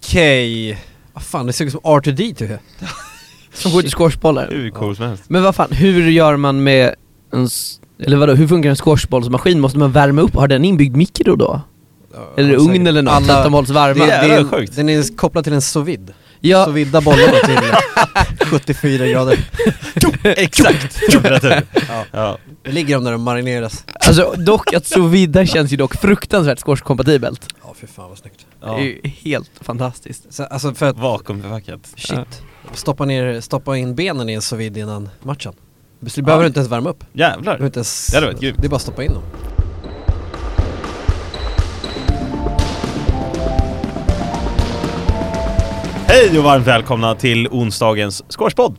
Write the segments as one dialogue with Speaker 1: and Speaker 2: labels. Speaker 1: Okej! Vad fan, det ser ut som R2D2
Speaker 2: Som skjuter squashbollar.
Speaker 3: Hur cool som helst.
Speaker 2: Men vad fan, hur gör man med en... s- Eller vadå, hur funkar en squashbollsmaskin? Måste man värma upp? Har den inbyggd mikro då? Eller ugn eller något, så att de hålls varma?
Speaker 3: Det är-
Speaker 1: det
Speaker 3: Jävlar,
Speaker 1: är
Speaker 3: vad sjukt.
Speaker 1: Den är kopplad till en sous vide.
Speaker 2: ja,
Speaker 1: Sous videa bollarna till 74 grader.
Speaker 3: Exakt! Temperatur. ja.
Speaker 1: Det ligger de där och marineras.
Speaker 2: alltså dock att sous vide känns ju dock fruktansvärt squashkompatibelt.
Speaker 1: Ja, för fan vad snyggt.
Speaker 3: ja.
Speaker 2: Det är ju helt fantastiskt.
Speaker 1: Så, alltså för att
Speaker 3: Vakuumförpackat. Ja.
Speaker 1: Shit. Stoppa, ner, stoppa in benen i en sous vide innan matchen. Du behöver du inte ens värma upp. Du behöver
Speaker 3: Jävlar.
Speaker 1: inte ens,
Speaker 3: Det hade varit grymt.
Speaker 1: är bara att stoppa in dem.
Speaker 3: Hej och varmt välkomna till onsdagens squashpodd.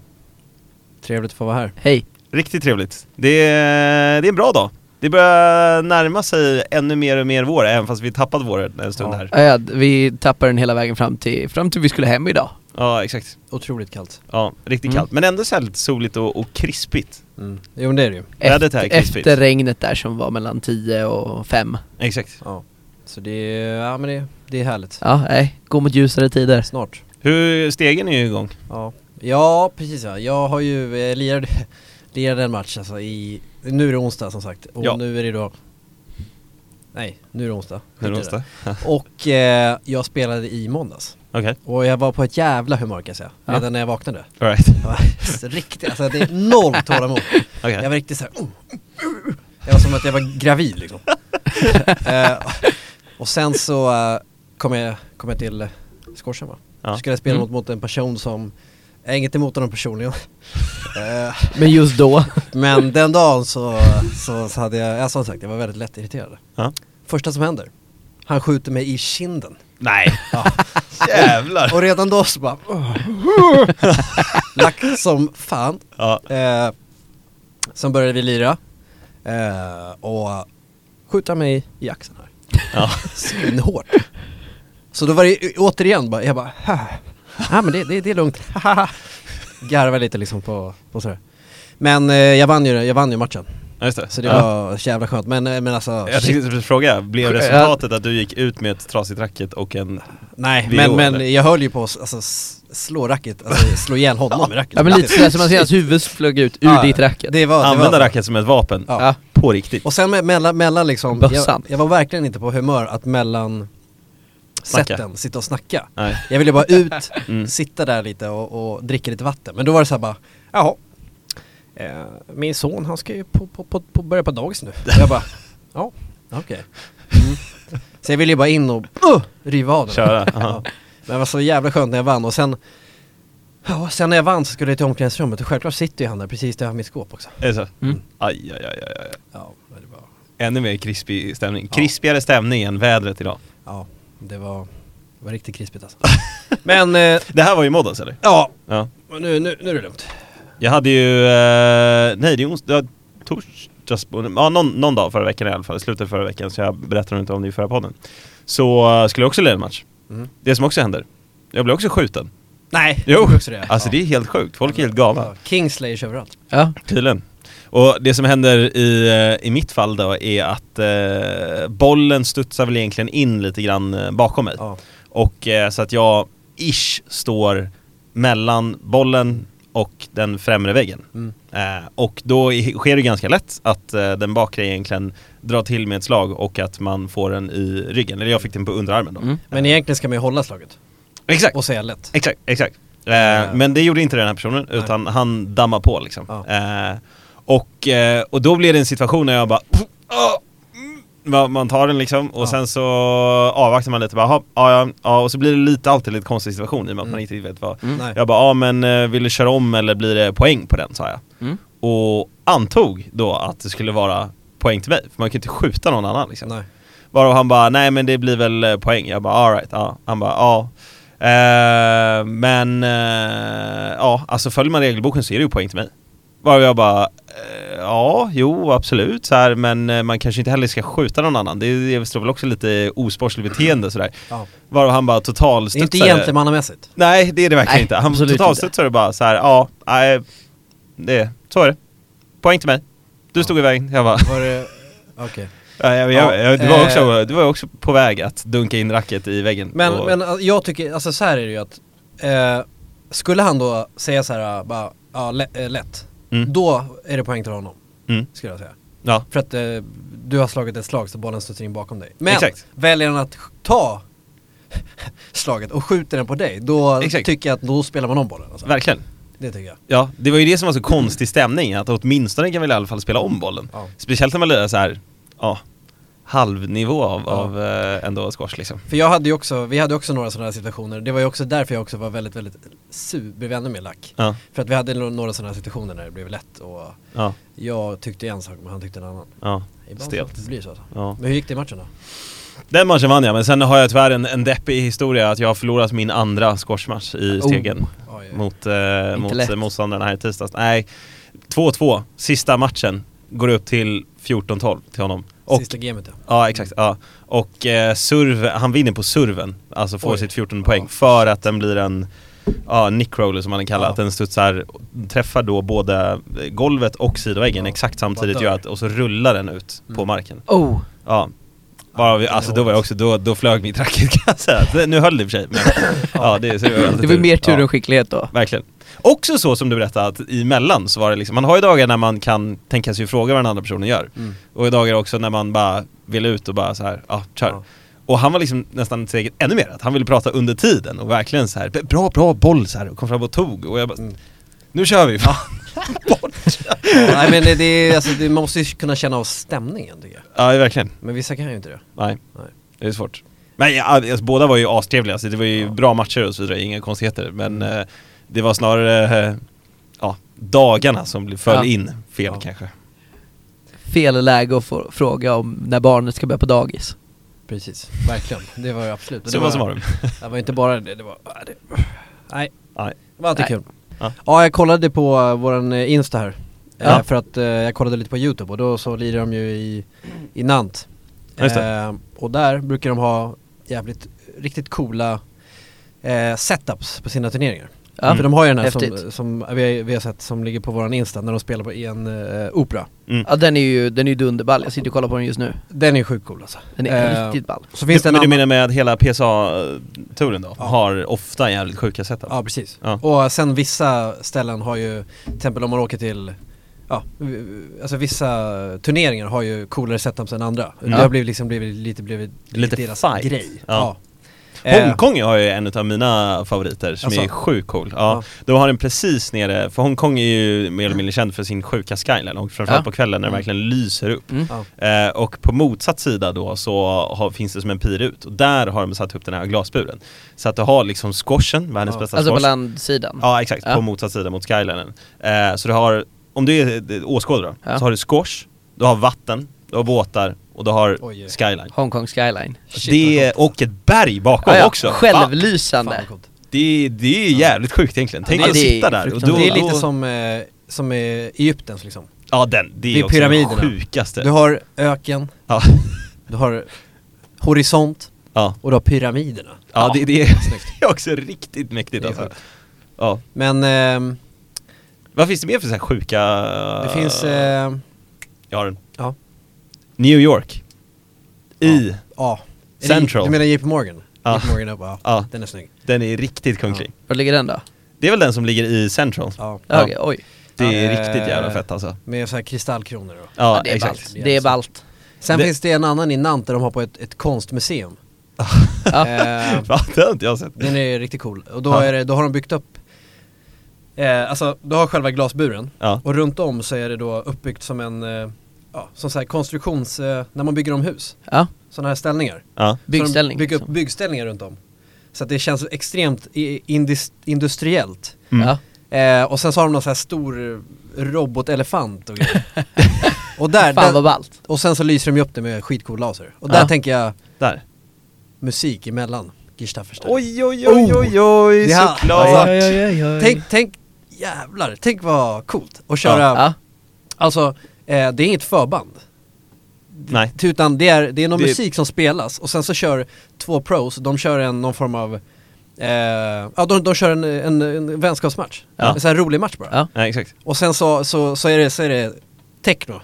Speaker 1: Trevligt att få vara här.
Speaker 2: Hej.
Speaker 3: Riktigt trevligt. Det är, det är en bra dag. Det börjar närma sig ännu mer och mer vår, även fast vi tappat våren en stund
Speaker 1: Ja.
Speaker 3: här.
Speaker 2: Ja, ja, vi tappar den hela vägen fram till, fram till vi skulle hem idag.
Speaker 3: Ja, exakt.
Speaker 1: Otroligt kallt.
Speaker 3: Ja, riktigt
Speaker 2: Mm.
Speaker 3: kallt. Men ändå så här lite soligt och, och krispigt.
Speaker 1: Mm. Jo men det är det ju.
Speaker 3: Vädret här är
Speaker 2: efter,
Speaker 3: krispigt.
Speaker 2: efter regnet där som var mellan 10 och 5.
Speaker 3: Exakt.
Speaker 1: Ja. Så det är, ja men det, det är härligt.
Speaker 2: Ja, nej, gå mot ljusare tider.
Speaker 1: Snart.
Speaker 3: Hur, stegen är ju igång.
Speaker 1: Ja. Ja precis ja. Jag har ju eh, lirat, lirat en match alltså i, nu är det onsdag som sagt. Och
Speaker 3: Ja.
Speaker 1: nu är det då Nej, nu är det onsdag. Skit
Speaker 3: Nu är
Speaker 1: i
Speaker 3: det onsdag.
Speaker 1: Och eh, jag spelade i måndags.
Speaker 3: Okej,
Speaker 1: Och jag var på ett jävla humör kan jag säga.
Speaker 2: Ja.
Speaker 1: Redan när jag vaknade.
Speaker 3: alright.
Speaker 1: Jag var riktigt, alltså det är noll tålamod.
Speaker 3: Okej.
Speaker 1: Jag var riktigt "Oh, såhär Jag var som att jag var gravid liksom. Eh, och sen så eh, kom, jag, kom jag till skorsen va.
Speaker 3: Ja.
Speaker 1: Skulle jag spela
Speaker 2: Mm.
Speaker 1: mot, mot en person som, jag har inget emot honom personligen. Eh,
Speaker 2: Men just då,
Speaker 1: men den dagen så, så, så hade jag, jag som sagt jag var väldigt lätt irriterad.
Speaker 3: Ja.
Speaker 1: Första som händer, han skjuter mig i kinden.
Speaker 3: Nej,
Speaker 1: Ja.
Speaker 3: jävlar.
Speaker 1: Och redan då så bara Lack som fan
Speaker 3: Ja,
Speaker 1: eh, Sen började vi lira eh, Och skjuta mig i axeln här
Speaker 3: ja.
Speaker 1: Svinhårt Så då var det återigen bara, jag bara "Hä? Ja men det, det, det är lugnt, Garva lite liksom på, på sådär Men eh, jag vann ju, jag vann ju matchen
Speaker 3: Ja, just det.
Speaker 1: Så det
Speaker 3: ja.
Speaker 1: var så jävla skönt, men, eh, men alltså
Speaker 3: Jag tänkte precis fråga, blev
Speaker 2: Ja.
Speaker 3: resultatet att du gick ut med ett trasigt racket och en...
Speaker 1: Nej
Speaker 3: Vi
Speaker 1: men,
Speaker 3: då,
Speaker 1: men
Speaker 3: eller?
Speaker 1: jag höll ju på att alltså, s- slå racket, alltså slå ihjäl honom med racket
Speaker 2: ja men lite sådär som man ser hans huvud flög ut ur
Speaker 1: Ja,
Speaker 2: ditt racket.
Speaker 1: Det var, det
Speaker 3: Använda
Speaker 1: var,
Speaker 3: racket som ett vapen,
Speaker 1: Ja.
Speaker 2: Ja.
Speaker 3: på riktigt.
Speaker 1: Och sen me- mellan, mellan liksom, jag,
Speaker 2: Bössan.
Speaker 1: jag var verkligen inte på humör att mellan
Speaker 3: Snacka.
Speaker 1: sätten sitta och snacka.
Speaker 3: Nej.
Speaker 1: Jag ville bara ut,
Speaker 3: Mm.
Speaker 1: sitta där lite och, och dricka lite vatten. Men då var det så här bara, jaha, eh, min son han ska ju på, på, på, på börja på dagis nu. Jag bara, ja, okej. Mm. Så jag ville ju bara in och uh, riva av den.
Speaker 3: Köra,
Speaker 1: Ja.
Speaker 3: aha.
Speaker 1: Men det var så jävla skönt när jag vann och sen, ja, sen när jag vann så skulle jag till omklädningsrummet och självklart sitter ju han där precis där jag har mitt skåp också.
Speaker 3: Är det så?
Speaker 2: Mm.
Speaker 3: Aj, aj, aj, aj, aj.
Speaker 1: Ja, men det var...
Speaker 3: Ännu mer krispig stämning.
Speaker 1: Ja.
Speaker 3: Krispigare stämning än vädret idag.
Speaker 1: Ja, det var, det var riktigt krispigt alltså. Men, eh,
Speaker 3: Det här var ju måndags eller?
Speaker 1: ja,
Speaker 3: Ja.
Speaker 1: nu, nu, nu är det lugnt.
Speaker 3: Jag hade ju... Eh, nej, det är onsdag... Torsdags... Ja, någon, någon dag förra veckan i alla fall. Slutet förra veckan, så jag berättade inte om det i förra podden. Så eh, skulle jag också leda en match.
Speaker 1: Mm.
Speaker 3: Det som också händer. Jag blev också skjuten.
Speaker 1: Nej,
Speaker 3: Jo.
Speaker 1: jag tror också det.
Speaker 3: Alltså
Speaker 1: Ja.
Speaker 3: det är helt sjukt. Folk är helt galna.
Speaker 1: Ja, Kingslayers överallt.
Speaker 2: Ja.
Speaker 3: Tydligen. Och det som händer i, eh, i mitt fall då är att eh, bollen studsar väl egentligen in lite grann eh, bakom mig.
Speaker 1: Ja.
Speaker 3: Och eh, så att jag ish står mellan bollen och den främre väggen.
Speaker 1: Mm.
Speaker 3: Eh, och då i- sker det ganska lätt att eh, den bakre egentligen drar till med ett slag och att man får den i ryggen. Eller jag fick den på underarmen då.
Speaker 2: Mm.
Speaker 1: Men egentligen ska man ju hålla slaget
Speaker 3: Exakt!
Speaker 1: och säga lätt.
Speaker 3: Exakt, exakt.
Speaker 1: Eh,
Speaker 3: Eh, men det gjorde inte den här personen,
Speaker 1: Nej.
Speaker 3: utan han dammar på liksom.
Speaker 1: Ja.
Speaker 3: Eh, och, eh, och då blir det en situation när jag bara... "Ah, mm." Man- Man tar den liksom och
Speaker 1: Ja.
Speaker 3: sen så avvaktar man lite bara, "Jaha, ja, ja, ja, och så blir det lite alltid lite konstig situation i och med att man
Speaker 1: Mm.
Speaker 3: inte riktigt vet vad
Speaker 2: Mm.
Speaker 1: Nej.
Speaker 3: Jag bara, ja men eh, vill du köra om eller blir det poäng på den? sa jag
Speaker 2: Mm.
Speaker 3: Och antog då att det skulle vara poäng till mig, för man kan ju inte skjuta någon annan liksom
Speaker 1: Nej.
Speaker 3: Varav han bara, nej men det blir väl eh, poäng. Jag bara, alright, ja. Han bara, ja. Eh, men, eh, ja, alltså följer man regelboken så är det ju poäng till mig. Varav jag bara, eh, ja, jo absolut så här, men eh, man kanske inte heller ska skjuta någon annan. Det, det står väl också lite osportsligt beteende sådär.
Speaker 1: Ja.
Speaker 3: Varav han bara
Speaker 1: Det är inte
Speaker 3: totalstudsade.
Speaker 1: gentlemannamässigt.
Speaker 3: Nej, det är det verkligen
Speaker 2: Nej,
Speaker 3: inte. Han
Speaker 2: absolut inte.
Speaker 3: totalstudsade bara så här, ja, nej, det, så är det. Poäng till mig. Du
Speaker 1: Ja.
Speaker 3: stod i vägen. Jag bara,
Speaker 1: Var det, okej.
Speaker 3: Ja, jag,
Speaker 1: Ja,
Speaker 3: jag, jag, du, var
Speaker 1: eh.
Speaker 3: också, du var också på väg att dunka in racket i väggen.
Speaker 1: Men,
Speaker 3: och,
Speaker 1: men alltså, jag tycker, alltså så här är det ju att eh, Skulle han då säga så här, äh, bara, ja lä- eh, lätt
Speaker 3: Mm.
Speaker 1: Då är det poäng till honom,
Speaker 3: Mm.
Speaker 1: skulle jag säga
Speaker 3: Ja.
Speaker 1: För att eh, du har slagit ett slag så bollen studsar in bakom dig Men
Speaker 3: Exakt.
Speaker 1: väljer han att sk- ta slaget och skjuter den på dig Då
Speaker 3: Exakt.
Speaker 1: tycker jag att då spelar man om bollen alltså.
Speaker 3: Verkligen.
Speaker 1: Det tycker jag
Speaker 3: Ja, det var ju det som var så konstig stämning, att åtminstone kan vi i alla fall spela om bollen.
Speaker 1: Ja.
Speaker 3: Speciellt när man lirar så här, ja, halvnivå av,
Speaker 1: Ja.
Speaker 3: av eh, ändå squash liksom.
Speaker 1: För jag hade ju också, vi hade också några sådana här situationer Det var ju också därför jag också var väldigt, väldigt sur, blev ännu mer lack
Speaker 3: Ja,
Speaker 1: För att vi hade no- några sådana här situationer när det blev lätt och
Speaker 3: ja,
Speaker 1: jag tyckte en sak men han tyckte en annan
Speaker 3: ja.
Speaker 1: Ibland
Speaker 3: Stelt.
Speaker 1: så blir det så alltså.
Speaker 3: ja.
Speaker 1: Men hur gick det i matchen då?
Speaker 3: Den matchen vann jag, men sen har jag tyvärr en, en deppig historia att jag har förlorat min andra squashmatch i
Speaker 2: Oh.
Speaker 3: stegen
Speaker 1: Oj, oj.
Speaker 3: mot, eh, mot
Speaker 2: lätt.
Speaker 3: eh, motståndarna här i tisdags. Nej, 2-2, sista matchen, går upp till 14-12 till honom. Och,
Speaker 1: Sista gamet ja.
Speaker 3: ja, exakt, ja. och eh, serve, han vinner på serven, alltså får
Speaker 1: Oj.
Speaker 3: sitt 14 poäng
Speaker 1: Ja.
Speaker 3: för att den blir en ja, nickroller som man den kallar,
Speaker 1: Ja.
Speaker 3: att den studsar, träffar då både eh, golvet och sidoväggen
Speaker 1: Ja.
Speaker 3: exakt samtidigt
Speaker 1: Bara
Speaker 3: gör
Speaker 1: dör.
Speaker 3: att, och så rullar den ut på
Speaker 1: Mm.
Speaker 3: marken.
Speaker 2: Oh!
Speaker 3: Ja. Bara vi,
Speaker 1: Ja,
Speaker 3: alltså
Speaker 1: det
Speaker 3: då var jag
Speaker 1: hoppas.
Speaker 3: också, då, då flög mitt racket kan jag säga. Det- Nu höll det i och för sig men, ja, det, så alltid
Speaker 2: Det var ju mer tur
Speaker 3: ja,
Speaker 2: än skicklighet då.
Speaker 3: Verkligen. Också så som du berättade att emellan så var det liksom, man har ju dagar när man kan tänka sig fråga vad den andra personen gör.
Speaker 1: Mm.
Speaker 3: Och dagar också när man bara vill ut och bara så här, ja kör.
Speaker 1: Ja.
Speaker 3: Och han var liksom nästan säkert ännu mer att han ville prata under tiden och verkligen så här, bra, bra boll så här och kom fram och tog och jag bara,
Speaker 1: Mm.
Speaker 3: nu kör vi fan.
Speaker 1: Ja, Nej men det är, alltså, det, man måste ju kunna känna av stämningen tycker jag.
Speaker 3: Ja verkligen,
Speaker 1: Men vissa kan ju inte det.
Speaker 3: nej,
Speaker 1: Nej.
Speaker 3: det är svårt. Men ja, alltså, båda var ju astrevliga, alltså, det var ju bra matcher och så vidare, inga konstigheter. Men
Speaker 1: Mm.
Speaker 3: eh, det var snarare eh, ja, dagarna som blev- föll
Speaker 2: Ja.
Speaker 3: in fel
Speaker 1: Ja.
Speaker 3: kanske.
Speaker 2: Fel läge att få, fråga om när barnet ska börja på dagis.
Speaker 1: Precis, verkligen. Det var ju absolut.
Speaker 3: Så vad som var det.
Speaker 1: Det var inte bara det, det var... Nej. Det, nej.
Speaker 3: Nej.
Speaker 1: Det var inte
Speaker 2: Nej.
Speaker 1: kul.
Speaker 3: Ja.
Speaker 1: Ja. jag kollade på eh, våran eh, Insta här. Eh,
Speaker 3: Ja.
Speaker 1: För att eh, jag kollade lite på YouTube och då så lirar de ju i, i Nant.
Speaker 3: Ja, just det.
Speaker 1: Eh, och där brukar de ha jävligt, riktigt coola eh, setups på sina turneringar.
Speaker 2: Ja.
Speaker 1: För de har ju den här som,
Speaker 2: Häftigt.
Speaker 1: som vi, har, vi har sett som ligger på våran Insta när de spelar på i en eh, opera.
Speaker 3: Mm.
Speaker 2: Ja den är ju, den är ju dunderball, jag sitter och kollar på den just nu.
Speaker 1: Den är sjukt cool alltså.
Speaker 2: Den är
Speaker 1: Eh,
Speaker 2: riktigt ball.
Speaker 1: Så finns det
Speaker 3: du,
Speaker 1: en
Speaker 3: men du
Speaker 1: annan,
Speaker 3: menar med att hela PSA-touren då,
Speaker 1: Ja.
Speaker 3: har ofta jävligt sjuka setup?
Speaker 1: ja precis.
Speaker 3: Ja.
Speaker 1: Och sen vissa ställen har ju, till exempel om man åker till Ja, alltså vissa turneringar har ju coolare setups än andra.
Speaker 3: Mm.
Speaker 1: Det har blivit, liksom blivit, lite, blivit
Speaker 3: Lite
Speaker 1: deras
Speaker 3: fight.
Speaker 1: grej.
Speaker 3: Ja.
Speaker 1: Eh,
Speaker 3: Hongkong har ju en av mina favoriter som
Speaker 1: Alltså?
Speaker 3: är sjukt cool. Ja,
Speaker 1: Ja.
Speaker 3: De har den precis nere, för Hongkong är ju mer eller mindre känd för sin sjuka skyline och framförallt
Speaker 2: Ja.
Speaker 3: på kvällen när det
Speaker 2: Mm.
Speaker 3: verkligen lyser upp.
Speaker 2: Mm.
Speaker 1: Ja.
Speaker 3: Eh, och på motsatt sida då så har, finns det som en pir ut och där har de satt upp den här glasburen. Så att du har liksom squashen, världens
Speaker 1: Ja.
Speaker 3: bästa
Speaker 2: Alltså på
Speaker 3: squash.
Speaker 2: landsidan.
Speaker 3: Mm. Ja exakt,
Speaker 2: Ja.
Speaker 3: på motsatt sida mot skylinen. Eh, så du har, om du är eh, åskådare då,
Speaker 2: Ja.
Speaker 3: så har du squash, du har vatten, du har båtar och du har
Speaker 1: Oj, oj.
Speaker 3: skyline.
Speaker 2: Hongkong skyline. Ah,
Speaker 1: Shit,
Speaker 3: det,
Speaker 1: vad coolt.
Speaker 3: och ett berg bakom
Speaker 2: Ja, ja,
Speaker 3: också. Va?
Speaker 1: Fan, vad
Speaker 2: Självlysande.
Speaker 1: coolt.
Speaker 3: Det, det är jävligt sjukt egentligen. Tänk
Speaker 2: det
Speaker 3: att
Speaker 2: är
Speaker 3: sitta där och då,
Speaker 2: fruktansvärt.
Speaker 1: det är
Speaker 3: då,
Speaker 1: lite som, eh, som i Egyptens liksom.
Speaker 3: Ja den, det är,
Speaker 1: det är
Speaker 3: också
Speaker 1: pyramiderna.
Speaker 3: det sjukaste.
Speaker 1: Du har öken,
Speaker 3: Ja,
Speaker 1: du har horisont
Speaker 3: ja.
Speaker 1: och du har pyramiderna.
Speaker 3: ja det, det är
Speaker 1: Snyggt.
Speaker 3: det är också riktigt mäktigt
Speaker 1: Det är
Speaker 3: alltså.
Speaker 1: sjukt.
Speaker 3: Ja.
Speaker 1: Men ehm,
Speaker 3: Vad finns det mer för så här sjuka...
Speaker 1: det finns, eh,
Speaker 3: Jag har den.
Speaker 1: ja,
Speaker 3: New York. I.
Speaker 1: ja. Är det-
Speaker 3: Central.
Speaker 1: Du menar JP Morgan?
Speaker 3: Ja.
Speaker 1: JP Morgan Up, ja.
Speaker 3: Ja.
Speaker 1: Den är snygg.
Speaker 3: Den är riktigt kunglig.
Speaker 2: Var ligger den då?
Speaker 3: Det är väl den som ligger i Central.
Speaker 1: Ja.
Speaker 2: Ja.
Speaker 3: Ja. eh,
Speaker 2: okej, oj.
Speaker 3: Det är
Speaker 1: Ja. eh,
Speaker 3: riktigt jävla fett alltså.
Speaker 1: Med så här kristallkronor och.
Speaker 3: Ja,
Speaker 2: det är
Speaker 3: exakt.
Speaker 2: ballt. Det är ballt.
Speaker 1: Sen
Speaker 3: Det-
Speaker 1: finns det en annan i Nantes där de har på ett, ett konstmuseum.
Speaker 2: Ja.
Speaker 1: Eh,
Speaker 3: Va? Det har inte jag sett.
Speaker 1: den är riktigt cool. Och då,
Speaker 3: Ja.
Speaker 1: är det, då har de byggt upp, eh, alltså du har själva glasburen
Speaker 3: Ja.
Speaker 1: och runt om så är det då uppbyggt som en, eh, ja, som så här konstruktions, eh, när man bygger om hus,
Speaker 2: Ja,
Speaker 1: sådana här ställningar.
Speaker 3: Ja.
Speaker 2: byggställning.
Speaker 1: Så de bygger upp
Speaker 2: liksom.
Speaker 1: byggställningar runt om. Så att det känns extremt i- indis- industriellt.
Speaker 3: Mm.
Speaker 2: Ja.
Speaker 1: Eh, och sen så har de någon så här stor robotelefant och grejer. Och där,
Speaker 2: Fan vad
Speaker 1: där,
Speaker 2: ballt.
Speaker 1: och sen så lyser de ju upp det med skitcool laser. Och där
Speaker 2: Ja.
Speaker 1: tänker jag
Speaker 3: Där.
Speaker 1: musik emellan, Gustafferstein.
Speaker 3: Oj, oj, oj, oj, oj,
Speaker 1: Ja.
Speaker 3: såklart.
Speaker 1: Ja,
Speaker 2: Tänk,
Speaker 1: alltså, Tänk, tänk, jävlar, tänk vad coolt att köra,
Speaker 2: ja.
Speaker 1: alltså eh, det är inget förband.
Speaker 3: Nej.
Speaker 1: Utan det är, det är någon
Speaker 3: Det-
Speaker 1: musik som spelas och sen så kör två pros, de kör en, någon form av, eh, ja de, de kör en, en, en vänskapsmatch.
Speaker 3: Ja.
Speaker 1: En sån här rolig match bara.
Speaker 2: Ja.
Speaker 3: Nej, exakt.
Speaker 1: Och sen så, så, så, är det, så är det techno.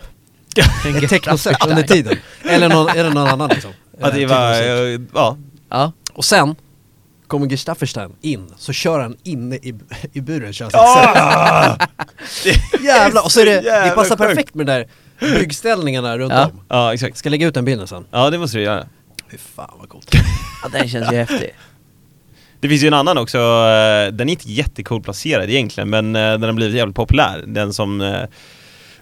Speaker 1: Ett technoset under tiden. Eller någon, är det någon annan liksom?
Speaker 3: Att det var, eh, ja,
Speaker 2: Ja.
Speaker 1: Och sen kommer Gustafferstein in, så kör han inne i, i buren kör han sitt set.
Speaker 3: Ah!
Speaker 1: Jävlar! Och så är det, det
Speaker 3: jävla
Speaker 1: passar
Speaker 3: sjukt.
Speaker 1: perfekt med de där byggställningarna runt
Speaker 2: Ja.
Speaker 1: om.
Speaker 3: Ja, exakt.
Speaker 1: Ska lägga ut den bilden sen.
Speaker 3: Ja, det måste du göra.
Speaker 1: Fy fan vad coolt.
Speaker 2: ja, den känns ju häftig.
Speaker 3: Det finns ju en annan också, eh, den är inte jättecool placerad egentligen, men eh, den har blivit jävligt populär. Den som eh,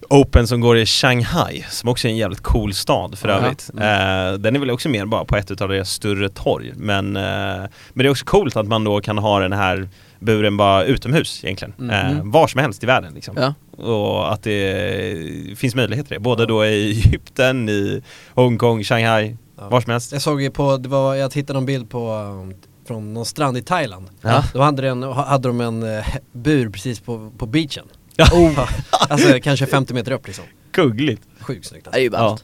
Speaker 3: Open som går i Shanghai, som också är en jävligt cool stad för
Speaker 2: Ja. Mm.
Speaker 3: övrigt. Eh, den är väl också mer bara på ett utav deras större torg, men, eh, men det är också coolt att man då kan ha den här buren bara utomhus egentligen. Eh, var som helst i världen liksom.
Speaker 2: Mm. Ja.
Speaker 3: Och att det finns möjligheter till det, både då i Egypten, i Hongkong, Shanghai,
Speaker 1: Ja.
Speaker 3: var som helst.
Speaker 1: Jag såg ju på, det var, jag hittade någon bild på um, från någon strand i Thailand.
Speaker 3: Ja.
Speaker 1: Då hade, den, hade de en eh, bur precis på, på beachen.
Speaker 3: Ja.
Speaker 1: Oh. alltså kanske 50 meter upp liksom. Kugligt. Sjukt snyggt. alltså.
Speaker 2: Det är ju
Speaker 3: Ja.
Speaker 2: ballt.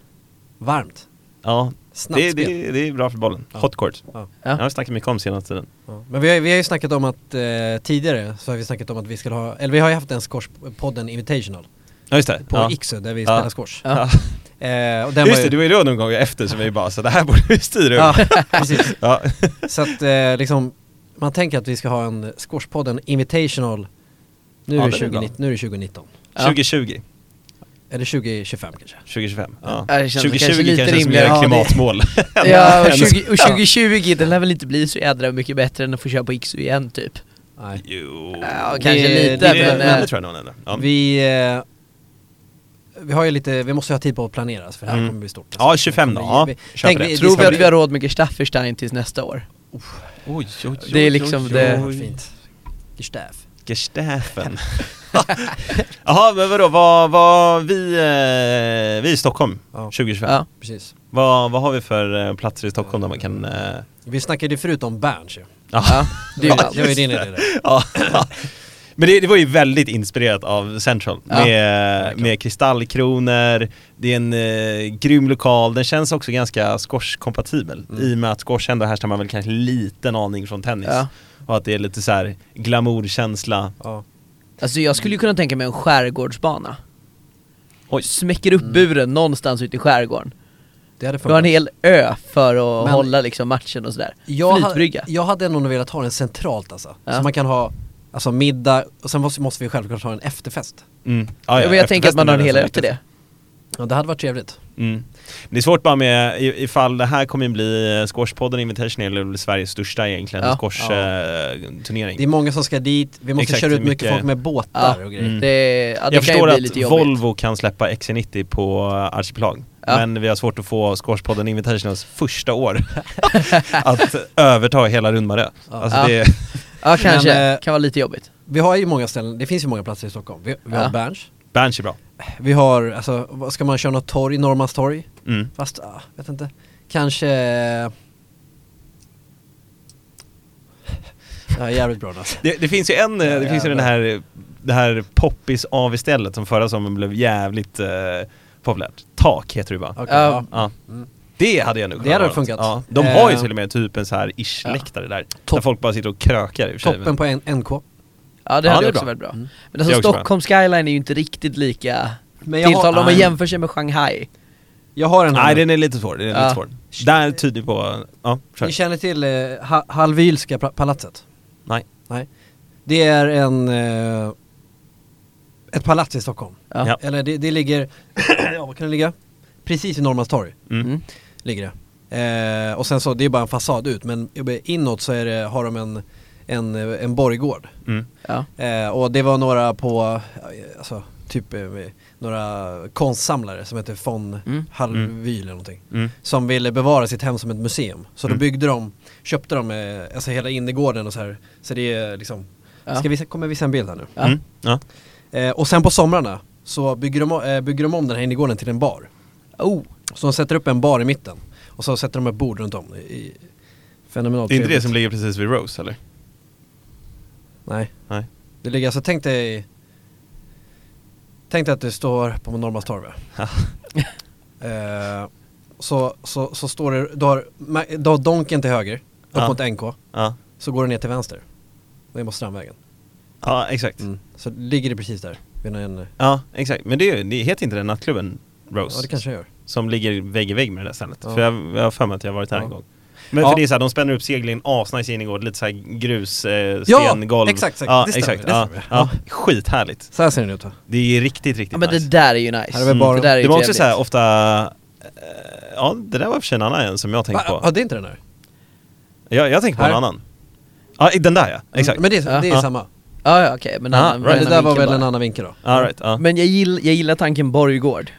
Speaker 1: Varmt.
Speaker 3: Ja,
Speaker 1: Snabbt
Speaker 3: det,
Speaker 1: spel.
Speaker 3: det, det är bra för bollen.
Speaker 1: Ja.
Speaker 3: Hot court.
Speaker 1: Ja.
Speaker 2: Ja.
Speaker 3: Jag har snackat mycket om senaste tiden.
Speaker 1: Ja. Men vi har, vi har ju snackat om att eh, tidigare så har vi snackat om att vi skulle ha, eller vi har ju haft en squashpodden Invitational
Speaker 3: Ja just det.
Speaker 1: på
Speaker 3: ja.
Speaker 1: Iksu där vi
Speaker 3: Ja.
Speaker 1: spelar squash.
Speaker 2: Ja.
Speaker 1: Eh, och den
Speaker 3: just
Speaker 1: var
Speaker 3: det,
Speaker 1: ju,
Speaker 3: det var ju då någon gång efter som vi bara så det här borde vi styra upp.
Speaker 1: Ja, precis.
Speaker 3: Ja.
Speaker 1: Så att eh, liksom, man tänker att vi ska ha en squashpodden Invitational nu,
Speaker 3: Ja,
Speaker 1: är det
Speaker 3: det är
Speaker 1: 20,
Speaker 3: bra.
Speaker 1: nu är det 2019.
Speaker 2: Ja.
Speaker 3: 2020,
Speaker 1: Eller 2025 kanske.
Speaker 3: 2025. Ja.
Speaker 2: Ja, det känns kanske
Speaker 3: 2020
Speaker 2: lite
Speaker 3: kanske som
Speaker 2: rimligare.
Speaker 3: mer
Speaker 2: Ja, det-
Speaker 3: klimatmål.
Speaker 2: Ja, och, 20, och 2020, det lär väl inte bli så jädra mycket bättre än att få köra på XU igen typ.
Speaker 1: Nej.
Speaker 3: Jo.
Speaker 2: Ja,
Speaker 1: kanske lite,
Speaker 3: det, det,
Speaker 1: men,
Speaker 3: men
Speaker 1: eh,
Speaker 3: det tror jag nog ändå. Ja.
Speaker 1: Vi, eh, vi har ju lite, vi måste ju ha tid på att planera så för det här
Speaker 3: Mm.
Speaker 1: kommer bli stort. alltså.
Speaker 3: ja, 25
Speaker 1: Det
Speaker 3: då.
Speaker 1: kommer
Speaker 3: Ja,
Speaker 1: bli-
Speaker 3: kör
Speaker 1: tänk
Speaker 3: på det.
Speaker 1: vi-
Speaker 2: Tror vi
Speaker 1: ska
Speaker 2: att
Speaker 1: bli-
Speaker 2: vi har råd med Gustafferstein tills nästa år?
Speaker 3: Oj, oj, oj,
Speaker 2: det är liksom
Speaker 3: oj,
Speaker 2: det-
Speaker 1: Ja,
Speaker 3: oj.
Speaker 1: fint. Gestaff.
Speaker 3: Gestafen. Jaha, men vadå, vad, vad, vi, eh, vi är i Stockholm
Speaker 1: Ja.
Speaker 3: 2025.
Speaker 2: Ja.
Speaker 1: Precis.
Speaker 3: Vad, vad har vi för eh, platser i Stockholm där man kan... Eh,
Speaker 1: Vi snackade ju förut om Berns ju.
Speaker 2: Ja, det är ju
Speaker 1: var-
Speaker 2: ballt.
Speaker 1: det var ju din idé där.
Speaker 3: Ja. Men det, det var ju väldigt inspirerat av Central
Speaker 2: Ja.
Speaker 3: med, med kristallkronor, det är en eh, grym lokal, den känns också ganska squash-kompatibel
Speaker 1: Mm.
Speaker 3: i och med att squash ändå härstammar väl kanske en liten aning från tennis.
Speaker 2: Ja.
Speaker 3: Och att det är lite så här glamourkänsla.
Speaker 1: Ja.
Speaker 2: Alltså jag skulle ju kunna tänka mig en skärgårdsbana.
Speaker 3: Oj.
Speaker 2: Smäcker upp buren någonstans ute i skärgården.
Speaker 1: Det hade
Speaker 2: Du har en
Speaker 1: funnits.
Speaker 2: hel ö för att
Speaker 1: Men-
Speaker 2: hålla liksom matchen och sådär.
Speaker 1: jag, hade,
Speaker 2: Flytbrygga.
Speaker 1: jag hade nog velat ha den centralt alltså.
Speaker 2: Ja.
Speaker 1: Så man kan ha alltså, middag och sen måste, måste vi självklart ha en efterfest.
Speaker 3: Mm.
Speaker 2: Ja,
Speaker 3: Ja, ja,
Speaker 2: men jag tänker att man har en hel
Speaker 3: efterfesten är
Speaker 2: ö till det.
Speaker 1: Ja, det hade varit trevligt.
Speaker 3: Mm. Det är svårt bara med i- ifall det här kommer bli eh, squashpodden Invitation eller blir Sveriges största egentligen eh,
Speaker 2: Ja.
Speaker 3: squash-turnering.
Speaker 1: Det är många som ska dit, vi måste
Speaker 3: Exakt,
Speaker 1: köra ut mycket,
Speaker 3: mycket-
Speaker 1: folk med båtar och grejer.
Speaker 3: Mm.
Speaker 2: Det, ja, det
Speaker 3: jag
Speaker 2: kan ju
Speaker 3: förstår
Speaker 2: bli
Speaker 3: att
Speaker 2: lite jobbigt.
Speaker 3: Volvo kan släppa XC90 på Archipelag
Speaker 2: Ja.
Speaker 3: Men vi har svårt att få Squashpodden Invitationals första år att överta hela Rundmarö.
Speaker 1: Ja.
Speaker 3: Alltså
Speaker 2: Ja.
Speaker 3: det,
Speaker 2: Ja kanske,
Speaker 1: Men, eh,
Speaker 2: kan vara lite jobbigt.
Speaker 1: Vi har ju många ställen, det finns ju många platser i Stockholm. Vi, vi har
Speaker 2: Ja.
Speaker 1: Berns,
Speaker 3: Berns är bra.
Speaker 1: vi har, alltså, vad ska man köra något torg, Norrmalmstorg?
Speaker 3: Mm.
Speaker 1: Fast, ah, vet inte. Kanske... eh, Det här är jävligt bra alltså.
Speaker 3: Det, det finns ju en, eh, det finns ju den här, det här poppis av istället som förra sommaren blev jävligt eh, populärt. Tak heter det bara.
Speaker 1: Okej,
Speaker 2: Ja.
Speaker 1: ja.
Speaker 3: Ja.
Speaker 2: Mm.
Speaker 3: Det hade jag nog
Speaker 1: Det
Speaker 3: kunnat
Speaker 1: hade
Speaker 3: göra
Speaker 1: funkat.
Speaker 3: något. Ja. De har ju
Speaker 1: Eh.
Speaker 3: till och med typ en så här ish-läktare där. Där
Speaker 1: Topp-
Speaker 3: folk bara sitter och krökar i och för sig.
Speaker 1: Toppen på en, NK.
Speaker 2: Ja det
Speaker 3: Ja,
Speaker 2: hade
Speaker 3: det är
Speaker 2: också
Speaker 3: bra.
Speaker 2: varit bra.
Speaker 1: Mm.
Speaker 2: Men alltså
Speaker 3: är också bra.
Speaker 2: Stockholm skyline är ju inte riktigt lika
Speaker 1: Men jag har-
Speaker 2: tilltalande om man
Speaker 1: Nej.
Speaker 2: jämför sig med Shanghai.
Speaker 1: Jag har en
Speaker 3: Nej
Speaker 1: här.
Speaker 3: den är lite svår, den är
Speaker 2: Ja.
Speaker 3: lite svår. Där tyder på, ja, kör.
Speaker 1: Ni känner till eh, ha Hallwylska pla- palatset?
Speaker 3: Nej.
Speaker 1: Nej. Det är en... Eh, ett palats i Stockholm.
Speaker 2: Ja.
Speaker 3: Ja.
Speaker 1: Eller det, det ligger... ja, vad kan det ligga? Precis vid Norrmalmstorg
Speaker 3: Mm.
Speaker 2: Mm.
Speaker 1: ligger det. Eh, och sen så, det är bara en fasad ut men inåt så är det, har de en, en, en borggård.
Speaker 3: Mm.
Speaker 2: Ja.
Speaker 1: Eh, och det var några på, eh, alltså typ eh, några konstsamlare som heter von
Speaker 2: Mm.
Speaker 1: Hallwyl eller någonting.
Speaker 3: Mm.
Speaker 1: Som ville bevara sitt hem som ett museum. Så då
Speaker 3: Mm.
Speaker 1: byggde de, köpte de eh, alltså hela innergården och så här. Så det är liksom,
Speaker 2: Ja.
Speaker 1: ska vi, se- kommer visa en bild här nu.
Speaker 2: Ja.
Speaker 3: Mm. Ja.
Speaker 1: Eh, och sen på somrarna så bygger de, eh, bygger de om den här innergården till en bar.
Speaker 2: Oh,
Speaker 1: Så de sätter upp en bar i mitten och så sätter de ett bord runt om. I, i, fenomenalt
Speaker 3: Det är inte det
Speaker 1: trevligt.
Speaker 3: som ligger precis vid Rose eller?
Speaker 1: Nej.
Speaker 3: Nej.
Speaker 1: Det ligger, alltså tänk dig Tänk dig att du står på Norrmalmstorg va? eh, så, så, så står det, du har, ma- du har Donken till höger, upp
Speaker 3: Ja.
Speaker 1: mot NK,
Speaker 3: Ja,
Speaker 1: så går du ner till vänster. Ner mot Strandvägen.
Speaker 3: ja exakt.
Speaker 1: Mm. Så ligger det precis där, vid en,
Speaker 3: Ja, exakt. Men det, är ju- det heter inte den nattklubben Rose.
Speaker 1: Ja, det kanske jag gör.
Speaker 3: Som ligger vägg i vägg med det där stället.
Speaker 1: Ja.
Speaker 3: För jag, jag har för mig att jag har varit där
Speaker 1: Ja.
Speaker 3: en gång. Men
Speaker 1: Ja.
Speaker 3: för det är såhär, de spänner upp seglen asnice in i gården, lite såhär grus, eh,
Speaker 1: Ja,
Speaker 3: stengolv.
Speaker 1: exakt, exakt.
Speaker 3: Ja,
Speaker 1: Det stämmer,
Speaker 3: exakt.
Speaker 1: det
Speaker 3: ja,
Speaker 1: stämmer.
Speaker 3: ja. Skithärligt.
Speaker 1: Så här ser den ut va?
Speaker 3: Det är riktigt, riktigt
Speaker 2: Ja men
Speaker 3: nice.
Speaker 2: det där är ju nice. Mm.
Speaker 1: Här är väl bara-
Speaker 2: det där är ju
Speaker 3: det var också
Speaker 2: trevligt.
Speaker 3: såhär ofta, eh, ja det där var i och för sig en annan en som jag tänkte
Speaker 1: Va?
Speaker 3: på.
Speaker 1: Ja, det är inte den här?
Speaker 3: Jag, jag tänkte på en
Speaker 1: Här?
Speaker 3: annan. Ja, i den där
Speaker 2: Mm,
Speaker 3: ja, exakt.
Speaker 1: Men det, är- det är
Speaker 3: Ja.
Speaker 1: samma.
Speaker 2: Ja, ja okej, men en
Speaker 3: Ah,
Speaker 2: annan-
Speaker 3: right.
Speaker 2: en
Speaker 1: det där var
Speaker 2: vinkel
Speaker 1: väl
Speaker 2: bara.
Speaker 1: en annan vinkel då?
Speaker 3: All right, ja.
Speaker 2: Men jag gillar, jag gillar tanken borggård.